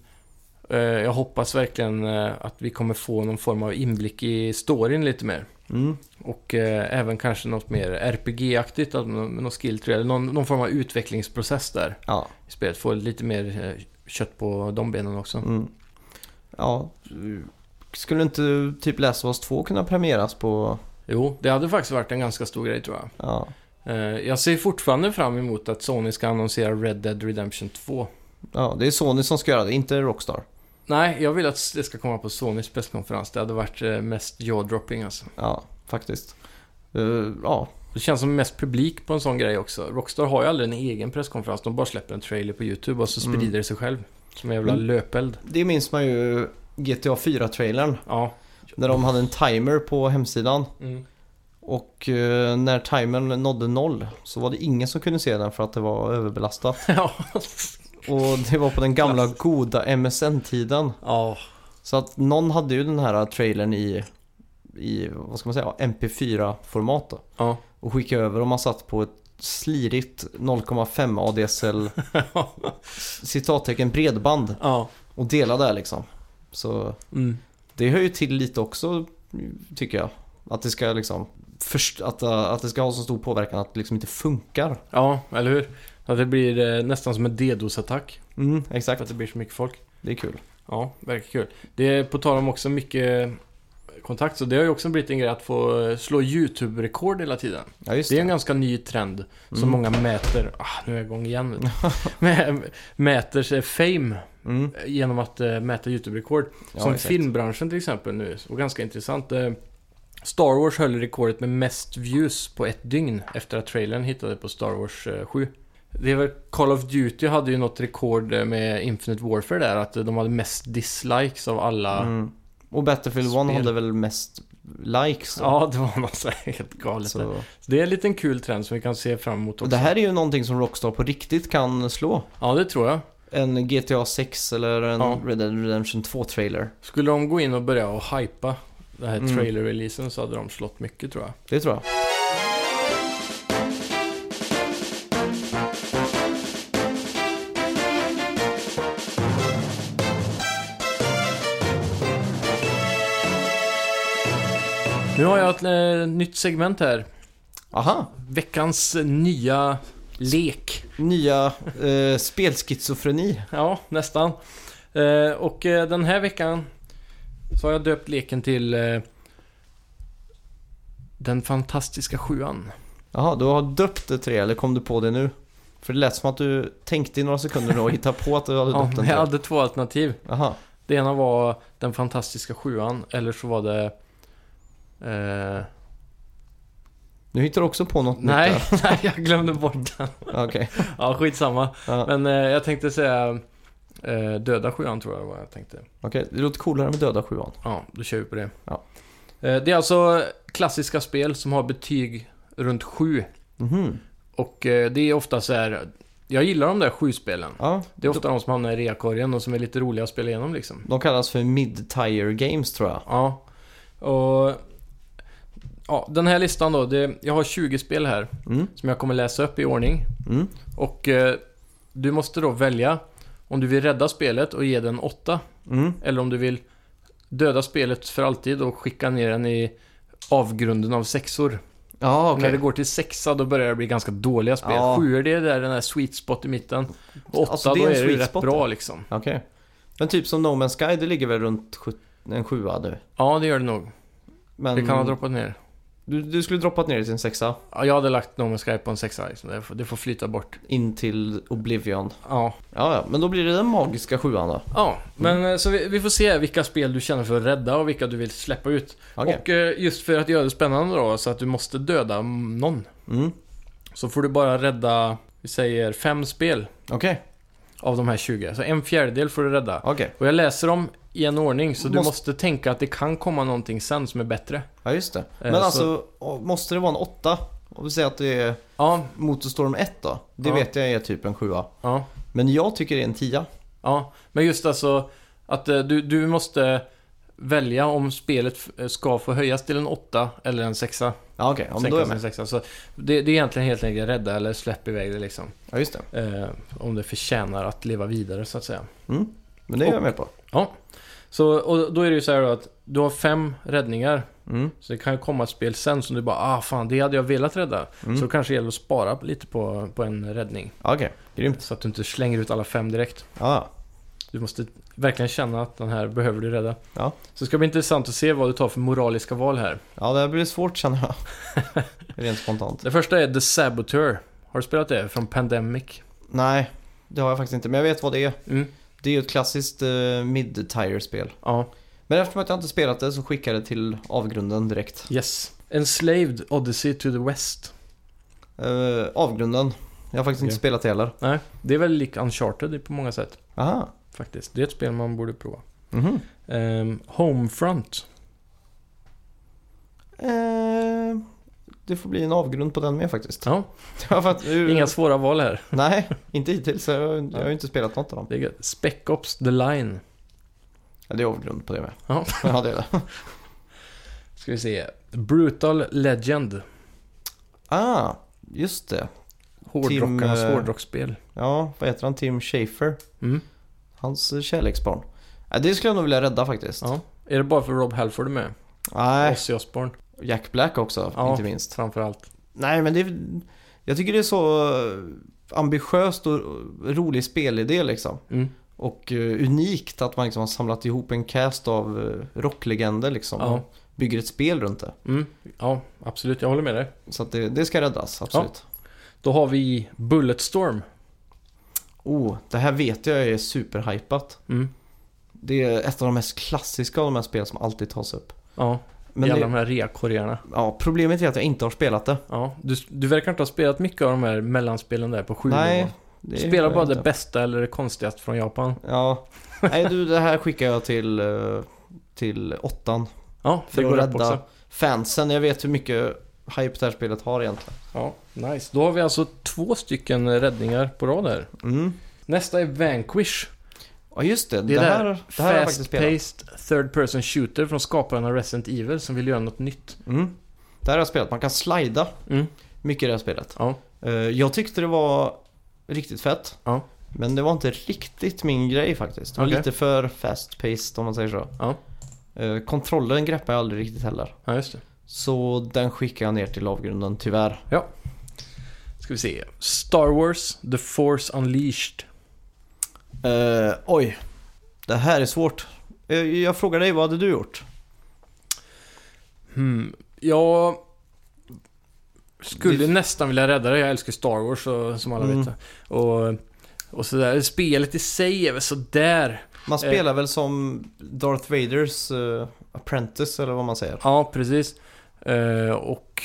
Speaker 2: Eh, jag hoppas verkligen eh, att vi kommer få någon form av inblick i storyn lite mer.
Speaker 1: Mm.
Speaker 2: Och eh, även kanske något mer RPG-aktigt, alltså någon, någon skill tree, eller någon, någon form av utvecklingsprocess där
Speaker 1: Ja.
Speaker 2: i spelet. Få lite mer eh, kött på de benen också.
Speaker 1: Mm. Ja. Skulle inte typ Last of Us 2 kunna premieras på...
Speaker 2: Jo, det hade faktiskt varit en ganska stor grej tror jag.
Speaker 1: Ja.
Speaker 2: Eh, jag ser fortfarande fram emot att Sony ska annonsera Red Dead Redemption 2.
Speaker 1: ja, det är Sony som ska göra det, inte Rockstar.
Speaker 2: Nej, jag vill att det ska komma på Sonys presskonferens. Det hade varit eh, mest jaw-dropping alltså.
Speaker 1: Ja, faktiskt. Eh, ja,
Speaker 2: Det känns som mest publik på en sån grej också. Rockstar har ju aldrig en egen presskonferens. De bara släpper en trailer på YouTube och så sprider det sig själv. Som en jävla
Speaker 1: Men-
Speaker 2: löpeld.
Speaker 1: det minns man ju GTA 4-trailern.
Speaker 2: Ja.
Speaker 1: När de hade en timer på hemsidan.
Speaker 2: Mm.
Speaker 1: Och eh, när timern nådde noll så var det ingen som kunde se den för att det var överbelastat.
Speaker 2: ja.
Speaker 1: Och det var på den gamla goda MSN-tiden.
Speaker 2: Ja.
Speaker 1: Så att någon hade ju den här trailern i, i vad ska man säga, MP4-format då.
Speaker 2: Ja.
Speaker 1: Och skickade över och man satt på ett slirigt 0,5 ADSL citattecken bredband
Speaker 2: ja.
Speaker 1: och delade där liksom. Så
Speaker 2: Mm.
Speaker 1: det hör ju till lite också tycker jag. Att det ska liksom först, att, äh, att det ska ha så stor påverkan att det liksom inte funkar.
Speaker 2: Ja, eller hur? Att det blir eh, nästan som en DDoS-attack.
Speaker 1: Mm,
Speaker 2: För att
Speaker 1: exakt.
Speaker 2: det blir så mycket folk.
Speaker 1: Det är kul.
Speaker 2: Ja, verkar kul. Det är på tal om också mycket kontakt. Så det har ju också blivit en grej att få eh, slå YouTube-rekord hela tiden.
Speaker 1: Ja, just
Speaker 2: Det är
Speaker 1: det.
Speaker 2: en ganska ny trend som
Speaker 1: Mm.
Speaker 2: många mäter, ah, nu är jag igång igen, vet du. Mä- mäter sig fame
Speaker 1: Mm,
Speaker 2: eh, genom att eh, mäta YouTube-rekord.
Speaker 1: ja,
Speaker 2: som
Speaker 1: exakt.
Speaker 2: filmbranschen till exempel nu, och ganska intressant. eh, Star Wars höll rekordet med mest views på ett dygn efter att trailern hittade på Star Wars eh, 7. Det är väl Call of Duty hade ju något rekord eh, med Infinite Warfare där, att eh, de hade mest dislikes av alla.
Speaker 1: Mm. Och Battlefield 1
Speaker 2: Spel.
Speaker 1: hade väl mest likes. då.
Speaker 2: Ja, det var något så här helt galet. där.
Speaker 1: så.
Speaker 2: Så det är en liten kul trend som vi kan se fram emot också.
Speaker 1: Och det här är ju någonting som Rockstar på riktigt kan slå.
Speaker 2: Ja, det tror jag.
Speaker 1: En GTA 6 eller en
Speaker 2: Ja.
Speaker 1: Red Dead Redemption 2-trailer.
Speaker 2: Skulle de gå in och börja och hypa Den här trailer-releasen så hade de slått mycket tror jag.
Speaker 1: Det tror jag.
Speaker 2: Nu har jag ett eh, nytt segment här.
Speaker 1: Aha!
Speaker 2: Veckans eh, nya lek.
Speaker 1: Nya eh, spelschizofreni.
Speaker 2: Ja, nästan. Eh, och eh, den här veckan så har jag döpt leken till eh, Den fantastiska sjuan.
Speaker 1: Jaha, du har döpt det till det, eller kom du på det nu? För det lät som att du tänkte i några sekunder nu och hittade på att du hade
Speaker 2: Ja,
Speaker 1: döpt den
Speaker 2: jag
Speaker 1: till.
Speaker 2: hade två alternativ.
Speaker 1: Aha.
Speaker 2: Det ena var Den fantastiska sjuan, eller så var det... Eh,
Speaker 1: Nu hittar du också på något
Speaker 2: nej,
Speaker 1: nytt
Speaker 2: nej, jag glömde bort den.
Speaker 1: där. Ja, Okej.
Speaker 2: Ja, skitsamma.
Speaker 1: Ja.
Speaker 2: Men eh, jag tänkte säga eh, Döda sjuan tror jag var jag tänkte.
Speaker 1: Okej, det låter coolare med döda sjuan.
Speaker 2: Ja, då kör vi på det.
Speaker 1: Ja.
Speaker 2: Eh, Det är alltså klassiska spel som har betyg runt 7.
Speaker 1: Mhm.
Speaker 2: Och eh, det är ofta så här... Jag gillar de där sju spelen.
Speaker 1: Ja,
Speaker 2: Det är ofta de som hamnar i reakorgen och som är lite roliga att spela igenom liksom.
Speaker 1: de kallas för mid-tire games tror jag.
Speaker 2: Ja. Och... Ja, den här listan då. Det, jag har 20 spel här
Speaker 1: Mm.
Speaker 2: som jag kommer läsa upp i ordning.
Speaker 1: Mm.
Speaker 2: Och eh, du måste då välja om du vill rädda spelet och ge den 8.
Speaker 1: Mm.
Speaker 2: Eller om du vill döda spelet för alltid och skicka ner den i avgrunden av sexor.
Speaker 1: Ja,
Speaker 2: När det
Speaker 1: okej.
Speaker 2: går till sexa då börjar det bli ganska dåliga spel.
Speaker 1: Ja.
Speaker 2: Sjuor det är där den där sweet spot i mitten. Och åtta
Speaker 1: Alltså, det är
Speaker 2: då
Speaker 1: en
Speaker 2: är det ju
Speaker 1: sweet
Speaker 2: rätt
Speaker 1: spot,
Speaker 2: bra
Speaker 1: ja.
Speaker 2: liksom.
Speaker 1: Okej. Men typ som No Man's Sky, det ligger väl runt sju- en sjua nu?
Speaker 2: Ja, det gör det nog.
Speaker 1: Men
Speaker 2: Det kan ha
Speaker 1: Mm.
Speaker 2: droppat ner.
Speaker 1: du, du skulle droppat ner det till en sexa.
Speaker 2: Ja, jag hade lagt No Man's Sky på en sexa liksom. det, får, det får flyta bort.
Speaker 1: In till Oblivion.
Speaker 2: Ja,
Speaker 1: Ja, ja, men då blir det den magiska sjuan då.
Speaker 2: ja men eh, så vi, vi får se vilka spel du känner för att rädda och vilka du vill släppa ut.
Speaker 1: Okej.
Speaker 2: Och eh, just för att göra det spännande då, så att du måste döda någon.
Speaker 1: Mm.
Speaker 2: Så får du bara rädda, vi säger fem spel
Speaker 1: Okej,
Speaker 2: av de här 20. Så en fjärdedel får du rädda.
Speaker 1: okej.
Speaker 2: Och jag läser dem i en ordning, så du
Speaker 1: Måste-
Speaker 2: måste tänka att det kan komma någonting sen som är bättre.
Speaker 1: Ja, just det. Men
Speaker 2: Eh, så-
Speaker 1: alltså, å- måste det vara en åtta? Om vi säger att det är
Speaker 2: Ja,
Speaker 1: Motorstorm 1 då? Det
Speaker 2: Ja.
Speaker 1: vet jag är typ en sjua.
Speaker 2: ja,
Speaker 1: Men jag tycker det är en tia.
Speaker 2: ja. Men just alltså att eh, du, du måste välja om spelet f- eh, ska få höjas till en åtta eller en sexa.
Speaker 1: Ja, okej. Ja, men då är
Speaker 2: Sänkas
Speaker 1: jag
Speaker 2: till en
Speaker 1: med.
Speaker 2: sexa. Så det, det är egentligen helt enkelt rädda eller släpp iväg det liksom.
Speaker 1: Ja, just det.
Speaker 2: Eh, om det förtjänar att leva vidare så att säga.
Speaker 1: Men det är jag med på.
Speaker 2: Ja. Så, och då är det ju så här då att du har fem räddningar.
Speaker 1: Mm.
Speaker 2: Så det kan ju komma ett spel sen som du bara ah fan det hade jag velat rädda.
Speaker 1: Mm.
Speaker 2: Så det kanske gäller att spara lite på, på en räddning.
Speaker 1: Ja, Okej, grymt.
Speaker 2: Så att du inte slänger ut alla fem direkt.
Speaker 1: Ja,
Speaker 2: Du måste verkligen känna att den här behöver du rädda.
Speaker 1: Ja.
Speaker 2: Så det ska bli intressant att se vad du tar för moraliska val här.
Speaker 1: ja det här blir svårt känner jag. Rent spontant.
Speaker 2: Det första är The Saboteur. Har du spelat det? Från Pandemic?
Speaker 1: Nej, det har jag faktiskt inte. Men jag vet vad det är.
Speaker 2: Mm.
Speaker 1: Det är ju ett klassiskt eh, mid-tire-spel.
Speaker 2: Ja.
Speaker 1: Men eftersom att jag inte spelat det så skickar jag det till avgrunden direkt.
Speaker 2: Yes. Enslaved Odyssey to the West.
Speaker 1: Eh, avgrunden. Jag har faktiskt inte
Speaker 2: Okej.
Speaker 1: spelat det heller.
Speaker 2: Nej, det är väl lik Uncharted på många sätt.
Speaker 1: Aha.
Speaker 2: Faktiskt. Det är ett spel man borde prova.
Speaker 1: Mhm.
Speaker 2: Ehm, Homefront.
Speaker 1: Eh, det får bli en avgrund på den med faktiskt.
Speaker 2: Ja,
Speaker 1: Ja, för att,
Speaker 2: inga svåra val här.
Speaker 1: Nej, inte hittills. så Jag, jag har ju inte spelat något av dem.
Speaker 2: Det är gött. Spec Ops The Line.
Speaker 1: Ja, det är avgrund på det med.
Speaker 2: Ja.
Speaker 1: ja det är det.
Speaker 2: Ska vi se. Brutal Legend.
Speaker 1: Ah, just det.
Speaker 2: Hårdrockarnas
Speaker 1: Tim, eh,
Speaker 2: hårdrocksspel.
Speaker 1: Ja, vad heter han? Tim Schafer.
Speaker 2: Mm.
Speaker 1: Hans eh, kärleksbarn. Ja, det skulle jag nog vilja rädda faktiskt.
Speaker 2: Ja. Är det bara för Rob Halford med?
Speaker 1: Nej,
Speaker 2: Ozzy Osbourne
Speaker 1: Jack Black också,
Speaker 2: Ja.
Speaker 1: inte minst.
Speaker 2: framförallt.
Speaker 1: Nej, men det är, jag tycker det är så eh, ambitiöst och eh, rolig spelidé liksom.
Speaker 2: Mm.
Speaker 1: Och eh, unikt att man liksom har samlat ihop en cast av eh, rocklegender liksom.
Speaker 2: Ja.
Speaker 1: Och bygger ett spel runt det.
Speaker 2: Mm. Ja, absolut. Jag håller med dig.
Speaker 1: Så att det, det ska räddas, absolut.
Speaker 2: Då har vi Bulletstorm.
Speaker 1: Oh, det här vet jag är superhypat.
Speaker 2: Mm.
Speaker 1: Det är ett av de mest klassiska av de här spel som alltid tas upp.
Speaker 2: Ja,
Speaker 1: Men
Speaker 2: i alla
Speaker 1: det,
Speaker 2: de här reakorgarna.
Speaker 1: ja, problemet är att jag inte har spelat det.
Speaker 2: Ja, du, du verkar inte ha spelat mycket av de här mellanspelen där på sju
Speaker 1: Nej,
Speaker 2: nivån.
Speaker 1: det
Speaker 2: Spela
Speaker 1: har
Speaker 2: bara
Speaker 1: jag
Speaker 2: det
Speaker 1: inte.
Speaker 2: bästa eller det konstigaste från Japan.
Speaker 1: Ja. Nej du, det här skickar jag till, eh, till åttan.
Speaker 2: Ja, det
Speaker 1: För
Speaker 2: går
Speaker 1: att
Speaker 2: rätt också.
Speaker 1: rädda fansen. Jag vet hur mycket hype det här spelet har egentligen.
Speaker 2: Ja, nice. Då har vi alltså två stycken räddningar på rad här.
Speaker 1: Mm.
Speaker 2: Nästa är Vanquish.
Speaker 1: Ja just det, det,
Speaker 2: Det är det
Speaker 1: här,
Speaker 2: där
Speaker 1: det här har jag faktiskt spelat.
Speaker 2: fast-paced third person shooter från skaparen av Resident Evil som vill göra något nytt.
Speaker 1: Mm. Det här har jag spelat, man kan slida
Speaker 2: Mm.
Speaker 1: mycket i det här spelet.
Speaker 2: Ja.
Speaker 1: Eh, jag tyckte det var riktigt fett.
Speaker 2: Ja.
Speaker 1: Men det var inte riktigt min grej faktiskt. Det var
Speaker 2: Okej.
Speaker 1: lite för fast-paced om man säger så.
Speaker 2: Ja.
Speaker 1: Eh, kontrollen greppade jag aldrig riktigt heller.
Speaker 2: ja, just det.
Speaker 1: Så den skickade jag ner till avgrunden, tyvärr.
Speaker 2: Ja. Ska vi se. Star Wars The Force Unleashed.
Speaker 1: Eh, oj, det här är svårt. Eh, jag frågar dig, vad hade du gjort?
Speaker 2: Hmm. Jag skulle nästan vilja rädda det. Jag älskar Star Wars så, som alla
Speaker 1: Mm.
Speaker 2: vet. Och, och sådär. Spelet i sig är väl sådär.
Speaker 1: Man
Speaker 2: Eh.
Speaker 1: spelar väl som Darth Vaders eh, apprentice eller vad man säger.
Speaker 2: Ja, precis. Eh, och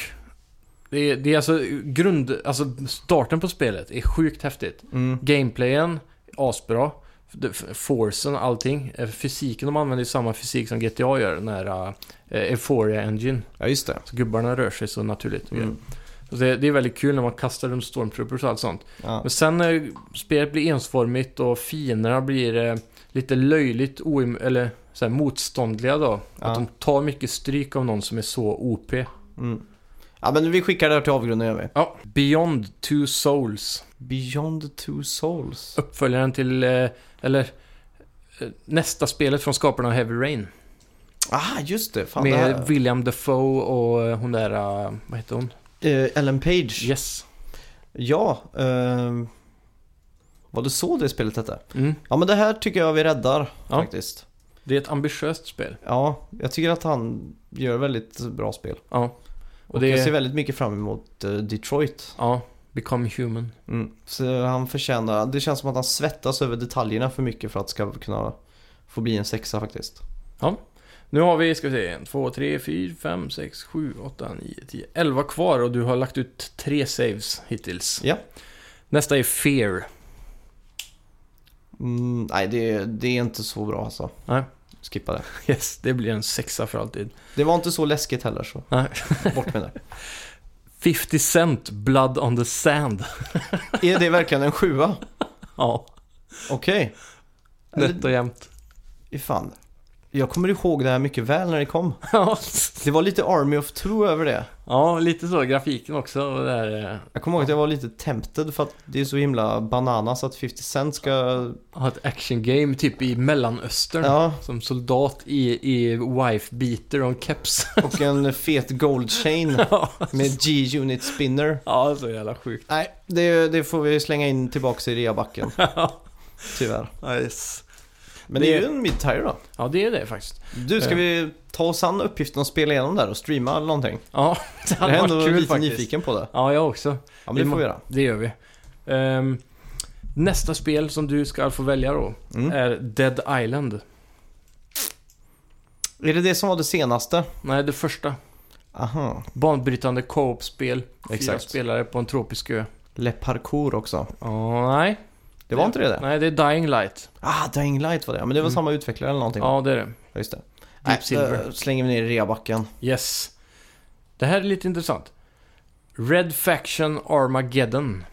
Speaker 2: det är, det är alltså grund... Alltså starten på spelet är sjukt häftigt.
Speaker 1: Mm.
Speaker 2: Gameplayen, asbra. Det- f- Forcen, allting. Eh, Fysiken, de använder ju samma fysik som GTA gör, den här eh, Euphoria Engine.
Speaker 1: Ja, just det.
Speaker 2: Så gubbarna rör sig så naturligt.
Speaker 1: Mm.
Speaker 2: Så det, det är väldigt kul när man kastar runt stormtroopers och allt sånt.
Speaker 1: Ja.
Speaker 2: Men sen när spelet blir ensformigt och fienderna blir eh, lite löjligt oim- eller, så här, motståndliga då.
Speaker 1: Ja.
Speaker 2: Att de tar mycket stryk av någon som är så OP.
Speaker 1: Mm. ja, men vi skickar det här till avgrunden gör vi.
Speaker 2: Ja, Beyond Two Souls.
Speaker 1: Beyond two souls.
Speaker 2: Uppföljaren till, eh, eller eh, nästa spelet från skaparna av Heavy Rain.
Speaker 1: Ah, just det. Fan, det
Speaker 2: med
Speaker 1: här...
Speaker 2: William Dafoe och eh, hon där, eh, vad heter hon?
Speaker 1: Eh, Ellen Page.
Speaker 2: Yes.
Speaker 1: Ja, ehm... Var det så det spelet hette?
Speaker 2: Mm.
Speaker 1: Ja, men det här tycker jag vi räddar
Speaker 2: Ja.
Speaker 1: faktiskt.
Speaker 2: Det är ett ambitiöst spel.
Speaker 1: Ja, jag tycker att han gör väldigt bra spel.
Speaker 2: Ja.
Speaker 1: Och, jag ser väldigt mycket fram emot eh, Detroit.
Speaker 2: Ja, Become Human.
Speaker 1: Mm. Så han förtjänar, det känns som att han svettas över detaljerna för mycket för att det ska kunna få bli en sexa faktiskt.
Speaker 2: Ja. Nu har vi, ska vi se, en, två, tre, fyra, fem, sex, sju, åtta, nio, tio, elva kvar och du har lagt ut tre saves hittills.
Speaker 1: Ja.
Speaker 2: Nästa är Fear.
Speaker 1: Mm, nej, det, det är inte så bra alltså.
Speaker 2: Nej.
Speaker 1: Skippa det.
Speaker 2: Yes, det blir en sexa för alltid.
Speaker 1: Det var inte så läskigt heller så
Speaker 2: Nej.
Speaker 1: bort med det.
Speaker 2: 50 Cent, Blood on the Sand.
Speaker 1: Är det verkligen en sjua?
Speaker 2: Ja,
Speaker 1: Okej.
Speaker 2: nätt och jämnt.
Speaker 1: Okay. Fan. Jag kommer ihåg det här mycket väl när det kom.
Speaker 2: Ja.
Speaker 1: Det var lite Army of Two över det.
Speaker 2: ja, lite så. Grafiken också. Och det här, eh,
Speaker 1: Jag kommer ihåg att jag var lite tempted för att det är så himla bananas att 50 Cent ska...
Speaker 2: ha ett action game typ i Mellanöstern.
Speaker 1: Ja,
Speaker 2: Som soldat i, i wife beater och en keps.
Speaker 1: och en fet gold chain
Speaker 2: Ja.
Speaker 1: med G-unit spinner.
Speaker 2: ja, så jävla sjukt.
Speaker 1: Nej, det, det får vi slänga in tillbaks i reabacken,
Speaker 2: Ja.
Speaker 1: tyvärr.
Speaker 2: Nice.
Speaker 1: Men det är
Speaker 2: Det-
Speaker 1: ju en mid-tire då.
Speaker 2: Ja, det är det faktiskt.
Speaker 1: Du, ska
Speaker 2: Ja.
Speaker 1: vi ta oss an uppgiften och spela igenom där och streama eller någonting?
Speaker 2: Ja, det
Speaker 1: Jag
Speaker 2: hade
Speaker 1: är
Speaker 2: varit
Speaker 1: ändå
Speaker 2: kul
Speaker 1: lite
Speaker 2: faktiskt.
Speaker 1: nyfiken på det.
Speaker 2: Ja, jag också.
Speaker 1: Ja, men det får vi göra.
Speaker 2: Det gör vi. Ehm, nästa spel som du ska få välja då
Speaker 1: Mm.
Speaker 2: är Dead Island.
Speaker 1: Är det det som var det senaste?
Speaker 2: Nej, det första.
Speaker 1: Aha.
Speaker 2: Banbrytande co-op-spel. Fyra
Speaker 1: Exakt.
Speaker 2: spelare på en tropisk ö.
Speaker 1: Le Parcours också.
Speaker 2: Ja, nej.
Speaker 1: Det var inte det det?
Speaker 2: Nej, det är Dying Light.
Speaker 1: Ah, Dying Light var det. Men det var
Speaker 2: Mm.
Speaker 1: samma utvecklare eller någonting?
Speaker 2: Ja, det är det.
Speaker 1: Ja, Just det.
Speaker 2: Silver.
Speaker 1: då slänger vi ner i reabacken.
Speaker 2: Yes. Det här är lite intressant. Red Faction Armageddon.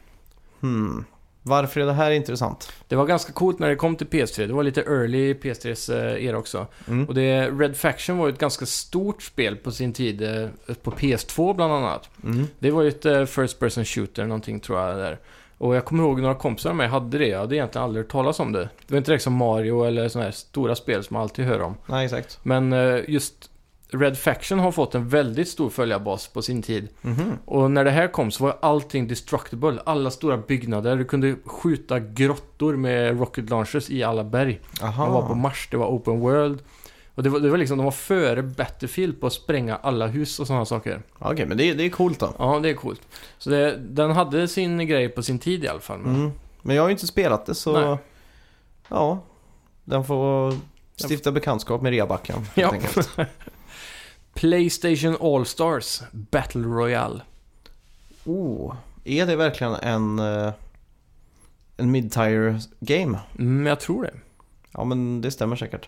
Speaker 1: Hmm. Varför är det här intressant?
Speaker 2: Det var ganska coolt när det kom till PS3. Det var lite early PS3s eh, era också.
Speaker 1: Mm.
Speaker 2: Och det, Red Faction var ju ett ganska stort spel på sin tid, eh, på PS2 bland annat.
Speaker 1: Mm.
Speaker 2: Det var ju ett eh, First Person Shooter någonting tror jag där. Och jag kommer ihåg några kompisar med mig hade det. Jag hade egentligen aldrig hört talas om det. Det var inte direkt som Mario eller sådana här stora spel som man alltid hör om.
Speaker 1: Nej, exakt.
Speaker 2: Men eh, just Red Faction har fått en väldigt stor följarbas på sin tid.
Speaker 1: Mhm.
Speaker 2: Och när det här kom så var allting destructible. Alla stora byggnader. Du kunde skjuta grottor med rocket launchers i alla berg.
Speaker 1: Aha.
Speaker 2: De var på Mars, det var open world. Och det var, det var liksom, de var före Battlefield på att spränga alla hus och sådana saker.
Speaker 1: Ja, Okej, men det, det är coolt då.
Speaker 2: Ja, det är coolt. Så det, den hade sin grej på sin tid i alla fall. men-
Speaker 1: Mm. Men jag har ju inte spelat det så...
Speaker 2: Nej.
Speaker 1: Ja. Den får stifta bekantskap med reabacken helt
Speaker 2: Ja.
Speaker 1: enkelt.
Speaker 2: Playstation All-Stars Battle Royale.
Speaker 1: Oh. Är det verkligen en... eh, En mid-tire game?
Speaker 2: Mm, jag tror det.
Speaker 1: Ja, men det stämmer säkert.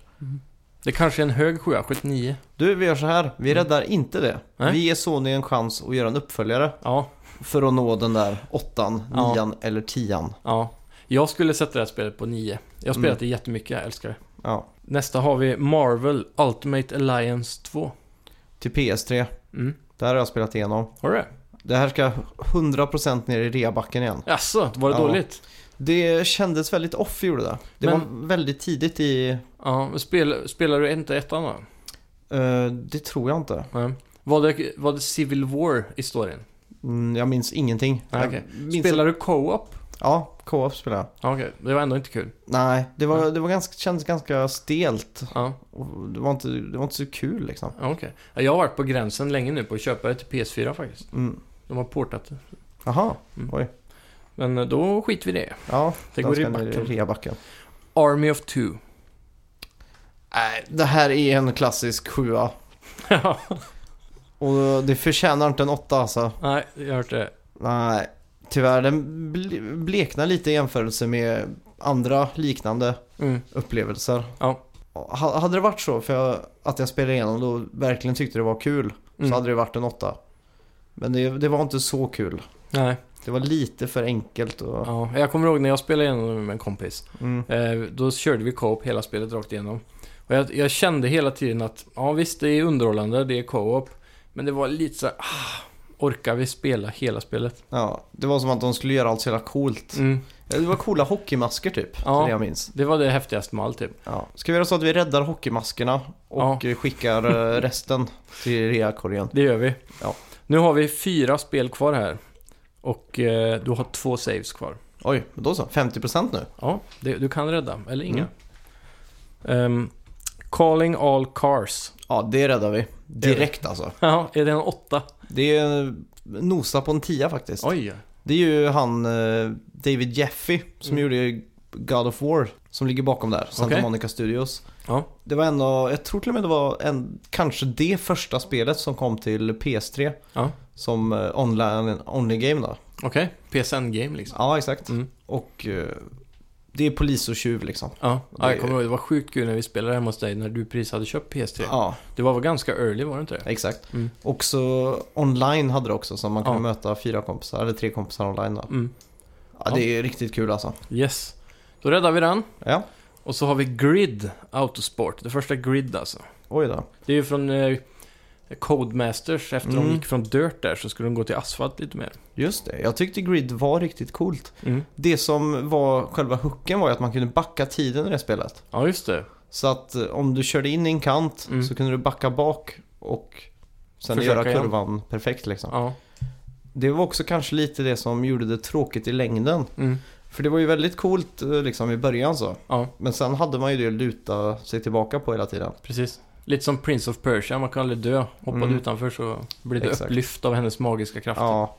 Speaker 2: Det kanske är en hög sjua, 79.
Speaker 1: Du, vi gör så här. Vi räddar inte det.
Speaker 2: Nej.
Speaker 1: Vi ger Sony en chans att göra en uppföljare
Speaker 2: Ja,
Speaker 1: för att nå den där åttan,
Speaker 2: Ja.
Speaker 1: nian eller tian.
Speaker 2: ja. Jag skulle sätta det här spelet på 9. Jag har spelat
Speaker 1: Mm.
Speaker 2: det jättemycket, jag älskar det.
Speaker 1: Ja.
Speaker 2: Nästa har vi Marvel Ultimate Alliance 2.
Speaker 1: Till PS3.
Speaker 2: Mm.
Speaker 1: Där har jag spelat igenom.
Speaker 2: Har du det?
Speaker 1: Det här ska 100% ner i reabacken igen.
Speaker 2: Jaså, var det
Speaker 1: Ja.
Speaker 2: dåligt?
Speaker 1: Det kändes väldigt off gjorde det. Det
Speaker 2: Men-
Speaker 1: var väldigt tidigt i...
Speaker 2: Ja, men spel, spelar du inte ettan då?
Speaker 1: eh, det tror jag inte.
Speaker 2: Nej. Var det, var det Civil War i storyn?
Speaker 1: Mm, jag minns ingenting.
Speaker 2: Nej,
Speaker 1: Jag
Speaker 2: okej.
Speaker 1: minns
Speaker 2: Spelar du co-op?
Speaker 1: Ja, co-op spelade jag.
Speaker 2: Ja, Okej, det var ändå inte kul.
Speaker 1: Nej, det, var,
Speaker 2: Mm.
Speaker 1: det var ganska, kändes ganska stelt.
Speaker 2: Ja,
Speaker 1: Och Det var, inte, det var inte så kul liksom.
Speaker 2: ja, okej. Ja, Jag har varit på gränsen länge nu på att köpa det till PS4 faktiskt.
Speaker 1: Mm.
Speaker 2: De har portat det.
Speaker 1: Jaha,
Speaker 2: Mm.
Speaker 1: oj.
Speaker 2: Men eh, då skiter vi i det.
Speaker 1: Ja,
Speaker 2: Det
Speaker 1: den
Speaker 2: går
Speaker 1: ska
Speaker 2: i
Speaker 1: ner
Speaker 2: backen.
Speaker 1: reabacken.
Speaker 2: Army of Two.
Speaker 1: Nej, det här är en klassisk sjua.
Speaker 2: Ja,
Speaker 1: Och det förtjänar inte en åtta alltså.
Speaker 2: Nej, jag har hört det.
Speaker 1: Nej, tyvärr. Den ble- bleknar lite i jämförelse med andra liknande
Speaker 2: Mm.
Speaker 1: upplevelser.
Speaker 2: Ja.
Speaker 1: Ha- Hade det varit så för jag, att jag spelade igenom då verkligen tyckte det var kul
Speaker 2: Mm.
Speaker 1: så hade det varit en åtta. Men det, det var inte så kul.
Speaker 2: Nej,
Speaker 1: Det var lite för enkelt och...
Speaker 2: ja. jag kommer ihåg när jag spelade igenom med en kompis.
Speaker 1: Mm.
Speaker 2: Eh, Då körde vi co-op hela spelet rakt igenom. Och jag, jag kände hela tiden att, ja visst det är underhållande, det är co-op. Men det var lite så här, ah, orkar vi spela hela spelet?
Speaker 1: Ja, det var som att de skulle göra allt så jävla coolt.
Speaker 2: Mm.
Speaker 1: Ja, Det var coola hockeymasker typ, det
Speaker 2: Ja.
Speaker 1: är det jag minns.
Speaker 2: Det var det häftigaste med allt typ.
Speaker 1: Ja. Ska vi göra så att vi räddar hockeymaskerna och eh, skickar eh, resten till reakorgen?
Speaker 2: Det gör vi.
Speaker 1: Ja.
Speaker 2: Nu har vi fyra spel kvar här. Och eh, du har två saves kvar.
Speaker 1: Oj, men då så. 50% nu.
Speaker 2: Ja, det, du kan rädda, eller inga. Ehm, calling all cars.
Speaker 1: Ja, det räddar vi. Direkt alltså.
Speaker 2: Ja, är det en åtta?
Speaker 1: Det är nosa på en tia faktiskt.
Speaker 2: Oj.
Speaker 1: Det är ju han eh, David Jeffy som gjorde God of War som ligger bakom där, Santa
Speaker 2: Mm. Okej.
Speaker 1: Monica Studios.
Speaker 2: Ja,
Speaker 1: Det var en av, jag tror till och med det var en, kanske det första spelet som kom till PS3
Speaker 2: ja.
Speaker 1: som eh, online, only game då.
Speaker 2: okej. PSN-game liksom.
Speaker 1: Ja, exakt.
Speaker 2: Mm.
Speaker 1: Och eh, det är polis och tjuv liksom.
Speaker 2: Ja, ja, jag
Speaker 1: Det-
Speaker 2: kommer ihåg. Det var sjukt kul när vi spelade hemma hos dig när du precis hade köpt PS3.
Speaker 1: Ja,
Speaker 2: Det var väl ganska early, var det inte det?
Speaker 1: exakt.
Speaker 2: Mm.
Speaker 1: Också online hade det också, så man kunde
Speaker 2: Ja.
Speaker 1: möta fyra kompisar, eller tre kompisar online då.
Speaker 2: Mm.
Speaker 1: Ja, det är riktigt kul alltså.
Speaker 2: Yes. Då räddar vi den.
Speaker 1: Ja,
Speaker 2: Och så har vi Grid Autosport. Det första Grid alltså.
Speaker 1: oj då.
Speaker 2: Det är ju från eh, Codemasters. Efter de
Speaker 1: Mm.
Speaker 2: gick från Dirt där så skulle de gå till asfalt lite mer.
Speaker 1: Just det, jag tyckte Grid var riktigt coolt.
Speaker 2: Mm.
Speaker 1: Det som var själva hooken var ju att man kunde backa tiden i det spelet.
Speaker 2: Ja, just det.
Speaker 1: Så att eh, om du körde in i en kant
Speaker 2: Mm.
Speaker 1: så kunde du backa bak och sen
Speaker 2: Försöka
Speaker 1: göra
Speaker 2: igen.
Speaker 1: kurvan perfekt liksom.
Speaker 2: Ja.
Speaker 1: Det var också kanske lite det som gjorde det tråkigt i längden.
Speaker 2: Mm.
Speaker 1: För det var ju väldigt coolt eh, liksom i början så.
Speaker 2: Ja,
Speaker 1: Men sen hade man ju det att luta sig tillbaka på hela tiden.
Speaker 2: precis. Lite som Prince of Persia, man kan aldrig dö. Hoppar
Speaker 1: Mm.
Speaker 2: du utanför så blir du
Speaker 1: Exakt.
Speaker 2: upplyft av hennes magiska krafter.
Speaker 1: Ja.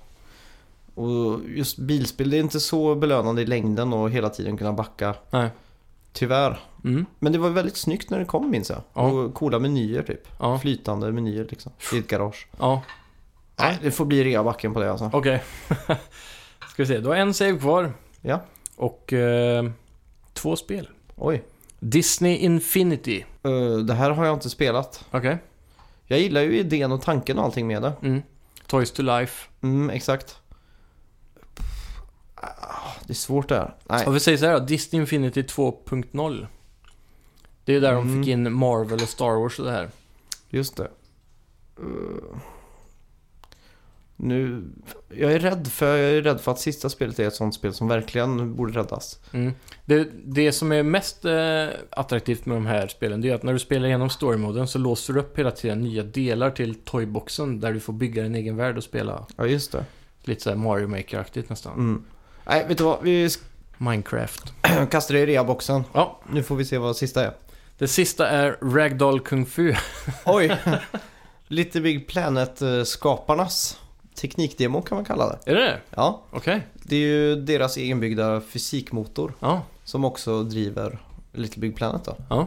Speaker 1: Och just bilspel, det är inte så belönande i längden och hela tiden kunna backa.
Speaker 2: Nej.
Speaker 1: Tyvärr.
Speaker 2: Mm.
Speaker 1: Men det var väldigt snyggt när det kom minns jag.
Speaker 2: Ja.
Speaker 1: Och coola menyer typ.
Speaker 2: Ja.
Speaker 1: Flytande menyer liksom. I ett garage.
Speaker 2: ja.
Speaker 1: Nej, det får bli reabacken på det alltså.
Speaker 2: Okej. Ska vi se, du har en save kvar.
Speaker 1: Ja.
Speaker 2: Och eh, två spel.
Speaker 1: Oj.
Speaker 2: Disney Infinity.
Speaker 1: Eh, det här har jag inte spelat.
Speaker 2: Okej.
Speaker 1: Jag gillar ju idén och tanken och allting med det.
Speaker 2: Mm. Toys to Life.
Speaker 1: Mm, exakt. Pff, ah, Det är svårt det här. Nej.
Speaker 2: Och vi säger så här då, Disney Infinity 2.0. Det är ju där de
Speaker 1: Mm.
Speaker 2: fick in Marvel och Star Wars och det här.
Speaker 1: Just det. Eh, Nu, jag är rädd för, jag är rädd för att sista spelet är ett sånt spel som verkligen borde räddas.
Speaker 2: Mm. Det, det som är mest eh, attraktivt med de här spelen, det är att när du spelar igenom storymoden så låser du upp hela tiden nya delar till toyboxen där du får bygga din egen värld och spela
Speaker 1: Ja, just det.
Speaker 2: lite såhär Mario Maker-aktigt nästan.
Speaker 1: Mm. Nej, vet du vad? Vi
Speaker 2: Minecraft.
Speaker 1: sk- kastar det i reaboxen.
Speaker 2: Ja,
Speaker 1: Nu får vi se vad sista är.
Speaker 2: det sista är Ragdoll Kung Fu.
Speaker 1: Oj! Lite Big Planet-skaparnas teknikdemo kan man kalla det.
Speaker 2: är det det?
Speaker 1: Ja,
Speaker 2: Okej.
Speaker 1: det är ju deras egenbyggda fysikmotor
Speaker 2: Ja.
Speaker 1: som också driver Little Big Planet då.
Speaker 2: ja.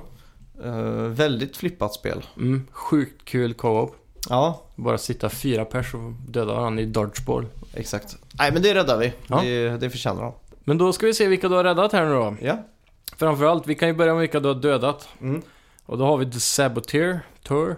Speaker 1: Eh, väldigt flippat spel.
Speaker 2: Mm. Sjukt kul co-op.
Speaker 1: Ja,
Speaker 2: Bara sitta fyra pers och döda varandra i dodgeball.
Speaker 1: Exakt. Nej men det räddar vi.
Speaker 2: Ja.
Speaker 1: Det, det förtjänar de.
Speaker 2: Men då ska vi se vilka du har räddat här nu då.
Speaker 1: Ja.
Speaker 2: Framförallt, vi kan ju börja med vilka du har dödat.
Speaker 1: Mm.
Speaker 2: Och då har vi The Saboteur, Tour,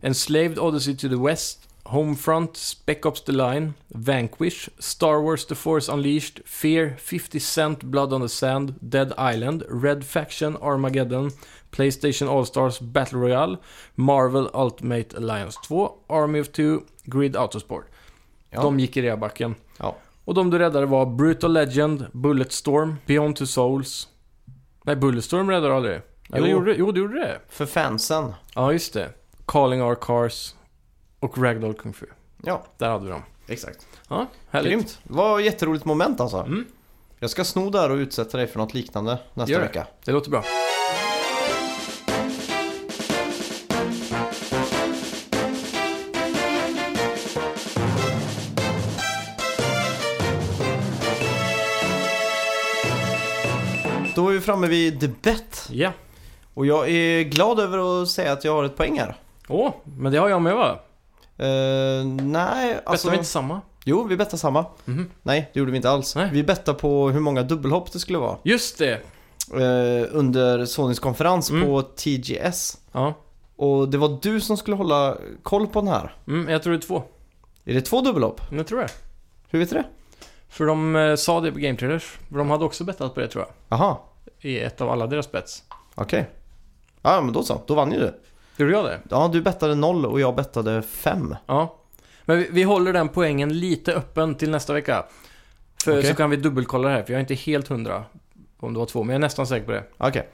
Speaker 2: Enslaved Odyssey to the West, Homefront, Spec Ops The Line, Vanquish, Star Wars The Force Unleashed, Fear, 50 Cent, Blood on the Sand, Dead Island, Red Faction, Armageddon, Playstation All-Stars Battle Royale, Marvel Ultimate Alliance 2, Army of Two, Grid Autosport.
Speaker 1: Ja.
Speaker 2: De gick i reabacken.
Speaker 1: Ja.
Speaker 2: Och de du räddade var Brutal Legend, Bulletstorm, Beyond Two Souls. Nej, Bulletstorm räddade du aldrig.
Speaker 1: Jo.
Speaker 2: Eller gjorde, jo, du gjorde det.
Speaker 1: För fansen.
Speaker 2: Ja, just det. Calling Our Cars och Ragdoll Kung Fu.
Speaker 1: Ja,
Speaker 2: Där hade vi dem.
Speaker 1: exakt.
Speaker 2: Ja, härligt.
Speaker 1: Grymt. Det var ett jätteroligt moment alltså.
Speaker 2: Mm.
Speaker 1: Jag ska sno där och utsätta dig för något liknande nästa
Speaker 2: Gör det.
Speaker 1: vecka.
Speaker 2: Det låter bra.
Speaker 1: Då är vi framme vid debatt.
Speaker 2: Ja.
Speaker 1: Och jag är glad över att säga att jag har ett poäng här.
Speaker 2: Åh, men det har jag med va? Bettar
Speaker 1: Eh, nej, alltså...
Speaker 2: vi inte samma?
Speaker 1: Jo, vi bettade samma.
Speaker 2: Mhm.
Speaker 1: Nej, det gjorde vi inte alls.
Speaker 2: Nej.
Speaker 1: Vi bettade på hur många dubbelhopp det skulle vara.
Speaker 2: Just det!
Speaker 1: eh, under Sonys konferens
Speaker 2: Mm.
Speaker 1: på TGS.
Speaker 2: Ja.
Speaker 1: Och det var du som skulle hålla koll på den här.
Speaker 2: Mm, jag tror det är två.
Speaker 1: Är det två dubbelhopp?
Speaker 2: Men Jag tror det.
Speaker 1: Hur vet du det?
Speaker 2: För de eh, sa det på Game Traders. För de hade också bettat på det tror jag.
Speaker 1: Aha,
Speaker 2: I ett av alla deras bets.
Speaker 1: okej. Ja, men då så. Då vann ju du.
Speaker 2: Gjorde jag det?
Speaker 1: Ja, du bettade noll och jag bettade fem.
Speaker 2: Ja. Men vi, vi håller den poängen lite öppen till nästa vecka. För
Speaker 1: Okej.
Speaker 2: så kan vi dubbelkolla det här, för jag är inte helt hundra om det var två, men jag är nästan säker på det.
Speaker 1: Okej.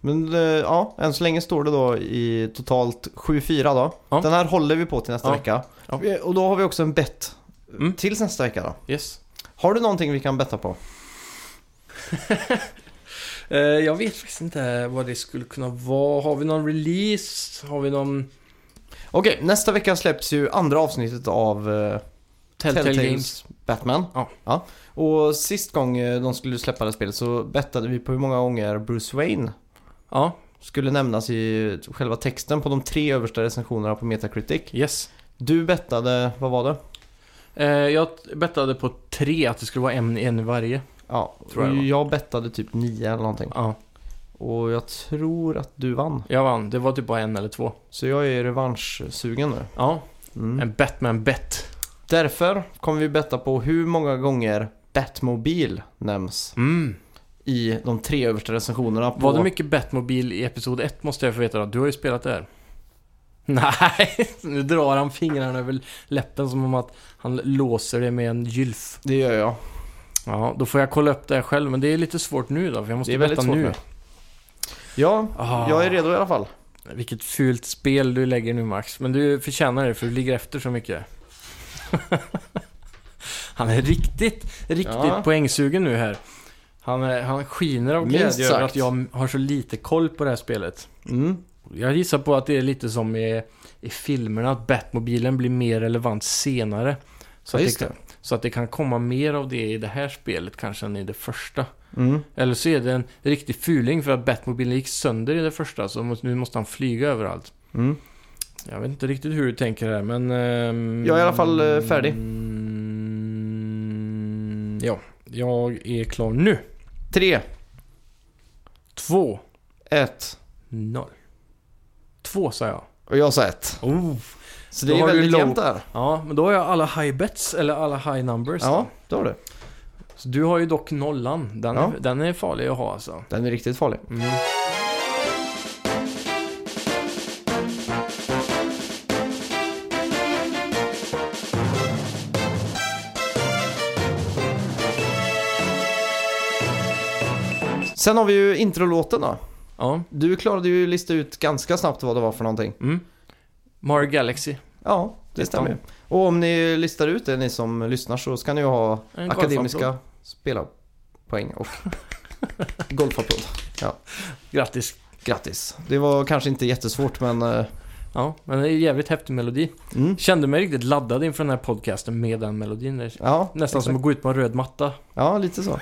Speaker 1: Men eh, ja, än så länge står det då i totalt 7-4 då.
Speaker 2: Ja.
Speaker 1: Den här håller vi på till nästa
Speaker 2: Ja.
Speaker 1: vecka.
Speaker 2: Ja.
Speaker 1: Eh, Och då har vi också en bett
Speaker 2: Mm.
Speaker 1: tills nästa vecka då.
Speaker 2: Yes.
Speaker 1: Har du någonting vi kan betta på?
Speaker 2: Eh, jag vet faktiskt inte vad det skulle kunna vara. Har vi någon release? Har vi någon
Speaker 1: Okej, nästa vecka släpps ju andra avsnittet av eh,
Speaker 2: Telltale, Games?
Speaker 1: Batman.
Speaker 2: Ja.
Speaker 1: Och sist gång eh, de skulle släppa det här spelet så bettade vi på hur många gånger Bruce Wayne
Speaker 2: Ja,
Speaker 1: skulle nämnas i själva texten på de tre översta recensionerna på Metacritic.
Speaker 2: yes.
Speaker 1: Du bettade, vad var det?
Speaker 2: Eh, jag bettade på tre, att det skulle vara en, en i varje.
Speaker 1: Ja,
Speaker 2: Tror jag det var.
Speaker 1: jag bettade typ nio eller någonting.
Speaker 2: Ja,
Speaker 1: Och jag tror att du vann.
Speaker 2: jag vann. Det var typ bara en eller två.
Speaker 1: Så jag är revanschsugen nu.
Speaker 2: Ja,
Speaker 1: Mm.
Speaker 2: en Batman-bet.
Speaker 1: Därför kommer vi betta på hur många gånger Batmobil nämns
Speaker 2: Mm.
Speaker 1: i de tre översta recensionerna på...
Speaker 2: Var det mycket Batmobil i Episod 1 måste jag få veta då? Du har ju spelat det här. Nej, nu drar han fingrarna över läppen som om att han låser det med en gylf.
Speaker 1: Det gör jag.
Speaker 2: Ja, då får jag kolla upp det här själv, men det är lite svårt nu då, för jag
Speaker 1: Det
Speaker 2: måste
Speaker 1: är väldigt
Speaker 2: betta
Speaker 1: svårt
Speaker 2: nu.
Speaker 1: nu. Ja,
Speaker 2: Ah.
Speaker 1: jag är redo i alla fall.
Speaker 2: Vilket fult spel du lägger nu Max, men du förtjänar det för du ligger efter så mycket. han är riktigt, riktigt
Speaker 1: Ja.
Speaker 2: poängsugen nu här. Han, är, han skiner av
Speaker 1: Minst
Speaker 2: glädje över
Speaker 1: sagt.
Speaker 2: att jag har så lite koll på det här spelet.
Speaker 1: Mm.
Speaker 2: Jag gissar på att det är lite som i, i filmerna, att Batmobilen blir mer relevant senare. Så,
Speaker 1: Ja,
Speaker 2: att
Speaker 1: just
Speaker 2: det kan, så att det kan komma mer av det i det här spelet kanske än i det första.
Speaker 1: Mm.
Speaker 2: Eller så är det en riktig fuling för att Batmobilen gick sönder i det första, så måste- nu måste han flyga överallt.
Speaker 1: Mm.
Speaker 2: Jag vet inte riktigt hur du tänker här, men... ehm,
Speaker 1: Jag är i alla fall, eh, färdig.
Speaker 2: Mm, ja, jag är klar nu.
Speaker 1: Tre,
Speaker 2: Två,
Speaker 1: ett.
Speaker 2: noll. Två sa jag.
Speaker 1: Och jag sa ett.
Speaker 2: Oh.
Speaker 1: Så det
Speaker 2: Då
Speaker 1: är
Speaker 2: har du
Speaker 1: väldigt
Speaker 2: low.
Speaker 1: jämnt där.
Speaker 2: Ja, men då har jag alla high bets, eller alla high numbers.
Speaker 1: Ja, det har du.
Speaker 2: Så du har ju dock nollan. Den,
Speaker 1: Ja.
Speaker 2: är, den är farlig att ha alltså.
Speaker 1: Den är riktigt farlig.
Speaker 2: Mm.
Speaker 1: Sen har vi ju introlåten då.
Speaker 2: Ja.
Speaker 1: Du klarade ju lista ut ganska snabbt vad det var för någonting.
Speaker 2: Mm. Mario Galaxy.
Speaker 1: Ja, det stämmer ju. Och om ni listar ut det, ni som lyssnar, så ska ni ju ha
Speaker 2: En
Speaker 1: akademiska
Speaker 2: golfapplåd.
Speaker 1: spelarpoäng och golfapplåd.
Speaker 2: Grattis.
Speaker 1: Grattis. Det var kanske inte jättesvårt, men... eh,
Speaker 2: Ja, men det är en jävligt häftig melodi.
Speaker 1: Mm.
Speaker 2: Kände mig riktigt laddad inför den här podcasten med den melodin. Nästan
Speaker 1: Ja,
Speaker 2: som att gå ut på en röd matta.
Speaker 1: Ja, lite så.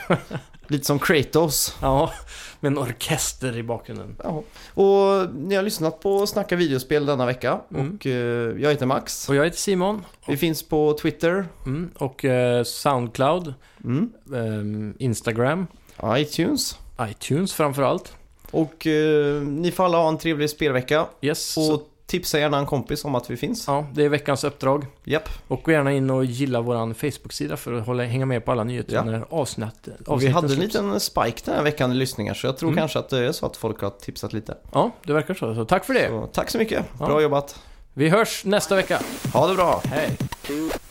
Speaker 1: lite som Kratos.
Speaker 2: Ja, med en orkester i bakgrunden.
Speaker 1: Ja. Och ni har lyssnat på Snacka videospel denna vecka.
Speaker 2: Mm.
Speaker 1: Och eh, jag heter Max.
Speaker 2: Och jag heter Simon.
Speaker 1: Vi finns på Twitter,
Speaker 2: Mm, och eh, Soundcloud,
Speaker 1: mm.
Speaker 2: ehm, Instagram,
Speaker 1: iTunes.
Speaker 2: iTunes framförallt.
Speaker 1: Och eh, ni får alla ha en trevlig spelvecka.
Speaker 2: Yes.
Speaker 1: Och
Speaker 2: så-
Speaker 1: tipsa gärna en kompis om att vi finns.
Speaker 2: Ja, det är veckans uppdrag.
Speaker 1: Japp.
Speaker 2: Och gå gärna in och gilla vår Facebook-sida för att hålla, hänga med på alla nyheter
Speaker 1: Ja.
Speaker 2: när avsnitt,
Speaker 1: Vi
Speaker 2: avsnitten
Speaker 1: hade en
Speaker 2: släpps.
Speaker 1: liten spike den här veckan i lyssningar så jag tror
Speaker 2: Mm.
Speaker 1: kanske att det är så att folk har tipsat lite.
Speaker 2: Ja, det verkar så. så tack för det.
Speaker 1: Så, tack så mycket,
Speaker 2: Ja.
Speaker 1: bra jobbat.
Speaker 2: Vi hörs nästa vecka.
Speaker 1: Ha det bra!
Speaker 2: Hej.
Speaker 4: Two,